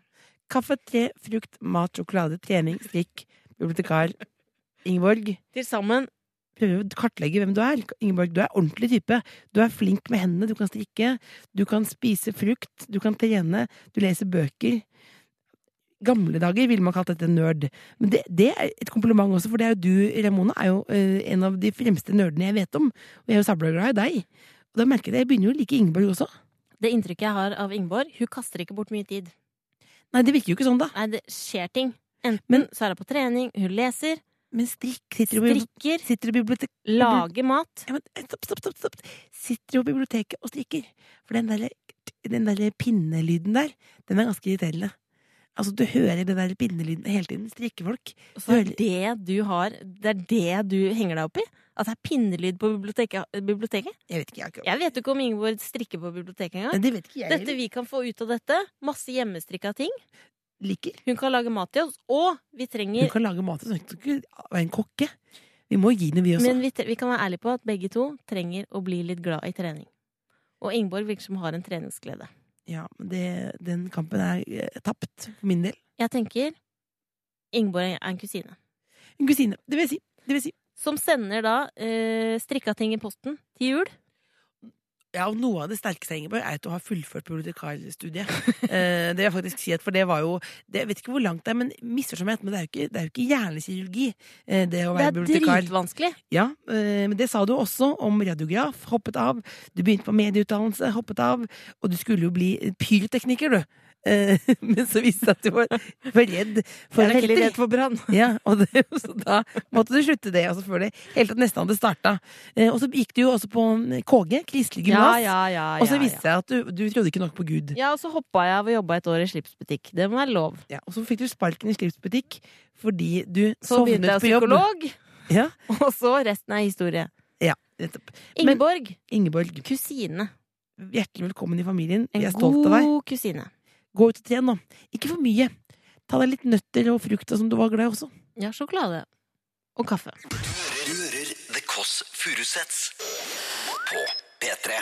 Speaker 3: Kaffe, tre, frukt, mat, sjokolade, trening, strikk, bibliotekar. Ingeborg.
Speaker 2: Til sammen
Speaker 3: prøve å kartlegge hvem du er. Ingeborg, du er ordentlig type. Du er flink med hendene, du kan strikke, du kan spise frukt, du kan trene, du leser bøker. Gamle dager ville man kalt dette nerd. Men det, det er et kompliment også, for det er jo du, Ramona, er jo eh, en av de fremste nerdene jeg vet om. Og jeg er jo sabla glad i deg. Og da merker jeg det, jeg begynner jo å like Ingeborg også.
Speaker 2: det inntrykket jeg har av Ingeborg, hun kaster ikke bort mye tid.
Speaker 3: Nei, det virker jo ikke sånn, da.
Speaker 2: Nei, det skjer ting. Enten
Speaker 3: Men-
Speaker 2: så er hun på trening, hun leser,
Speaker 3: Men strikk, sitter du i bibli-
Speaker 2: strikker,
Speaker 3: sitter du i bibliotek...
Speaker 2: lager mat.
Speaker 3: ja, men, eh, stopp, stopp, stopp, stopp. Sitter jo på biblioteket og strikker. For den derre den der pinnelyden der, den er ganske irriterende. Altså, du hører den der pinnelyden hele tiden. Strikkefolk.
Speaker 2: Og så er det du har, det er det du henger deg opp i? At det er pinnelyd på biblioteket? biblioteket?
Speaker 3: Jeg vet ikke, jeg har ikke
Speaker 2: Jeg vet jo ikke om Ingeborg strikker på biblioteket
Speaker 3: Nei,
Speaker 2: engang.
Speaker 3: Det vet ikke jeg
Speaker 2: Dette
Speaker 3: heller.
Speaker 2: vi kan få ut av dette. Masse hjemmestrikka ting.
Speaker 3: liker.
Speaker 2: Hun kan lage mat til oss. Og vi
Speaker 3: Hun
Speaker 2: trenger
Speaker 3: kan lage mat som ikke er en kokke. Vi må gi henne, vi også.
Speaker 2: Men vi, tre- vi kan være ærlige på at begge to trenger å bli litt glad i trening. Og Ingeborg virker som har en treningsglede.
Speaker 3: ja, men det, den kampen er eh, tapt, for min del.
Speaker 2: Jeg tenker Ingeborg er en kusine.
Speaker 3: En kusine. Det vil jeg si. Det vil jeg si.
Speaker 2: Som sender da eh, strikka ting i posten til jul.
Speaker 3: Ja, og Noe av det sterkeste jeg Ingeborg, er at du har fullført bibliotekarstudiet. Eh, det vil jeg faktisk si at, for det var jo det, Jeg vet ikke hvor langt det er, men misforstå meg rett, men det er jo ikke, det er jo ikke hjernekirurgi, eh, det
Speaker 2: Det
Speaker 3: å være
Speaker 2: er
Speaker 3: bibliotekar.
Speaker 2: dritvanskelig.
Speaker 3: Ja, eh, men det sa du også om radiograf. Hoppet av. Du begynte på medieutdannelse, hoppet av. Og du skulle jo bli pyrotekniker, du. Eh, Men så viste det seg at du var, var redd for
Speaker 2: Jeg er veldig
Speaker 3: raketter.
Speaker 2: redd for brann.
Speaker 3: Ja, og det, så da måtte du slutte det altså før det helt til nesten hadde starta. Eh, og så gikk du jo også på mm, KG, Kristelig
Speaker 2: Ja,
Speaker 3: gymnas.
Speaker 2: ja, ja,
Speaker 3: og så
Speaker 2: ja,
Speaker 3: viste det seg at du, du trodde ikke nok på Gud.
Speaker 2: ja. ja, og så hoppa jeg av og jobba et år i slipsbutikk. Det må være lov.
Speaker 3: Ja, og så fikk du sparken i slipsbutikk fordi du
Speaker 2: Så
Speaker 3: sovnet
Speaker 2: begynte jeg
Speaker 3: på jobb.
Speaker 2: psykolog,
Speaker 3: Ja,
Speaker 2: og så resten er historie.
Speaker 3: ja, nettopp. Men-
Speaker 2: Ingeborg,
Speaker 3: Ingeborg,
Speaker 2: kusine.
Speaker 3: hjertelig velkommen i familien.
Speaker 2: En
Speaker 3: Vi er stolt av deg.
Speaker 2: god kusine.
Speaker 3: Gå ut og tren nå. Ikke for mye. Ta deg litt nøtter og frukt og som du var glad i også.
Speaker 2: Ja, sjokolade. Og kaffe.
Speaker 1: Du hører The Kåss Furuseths på P3.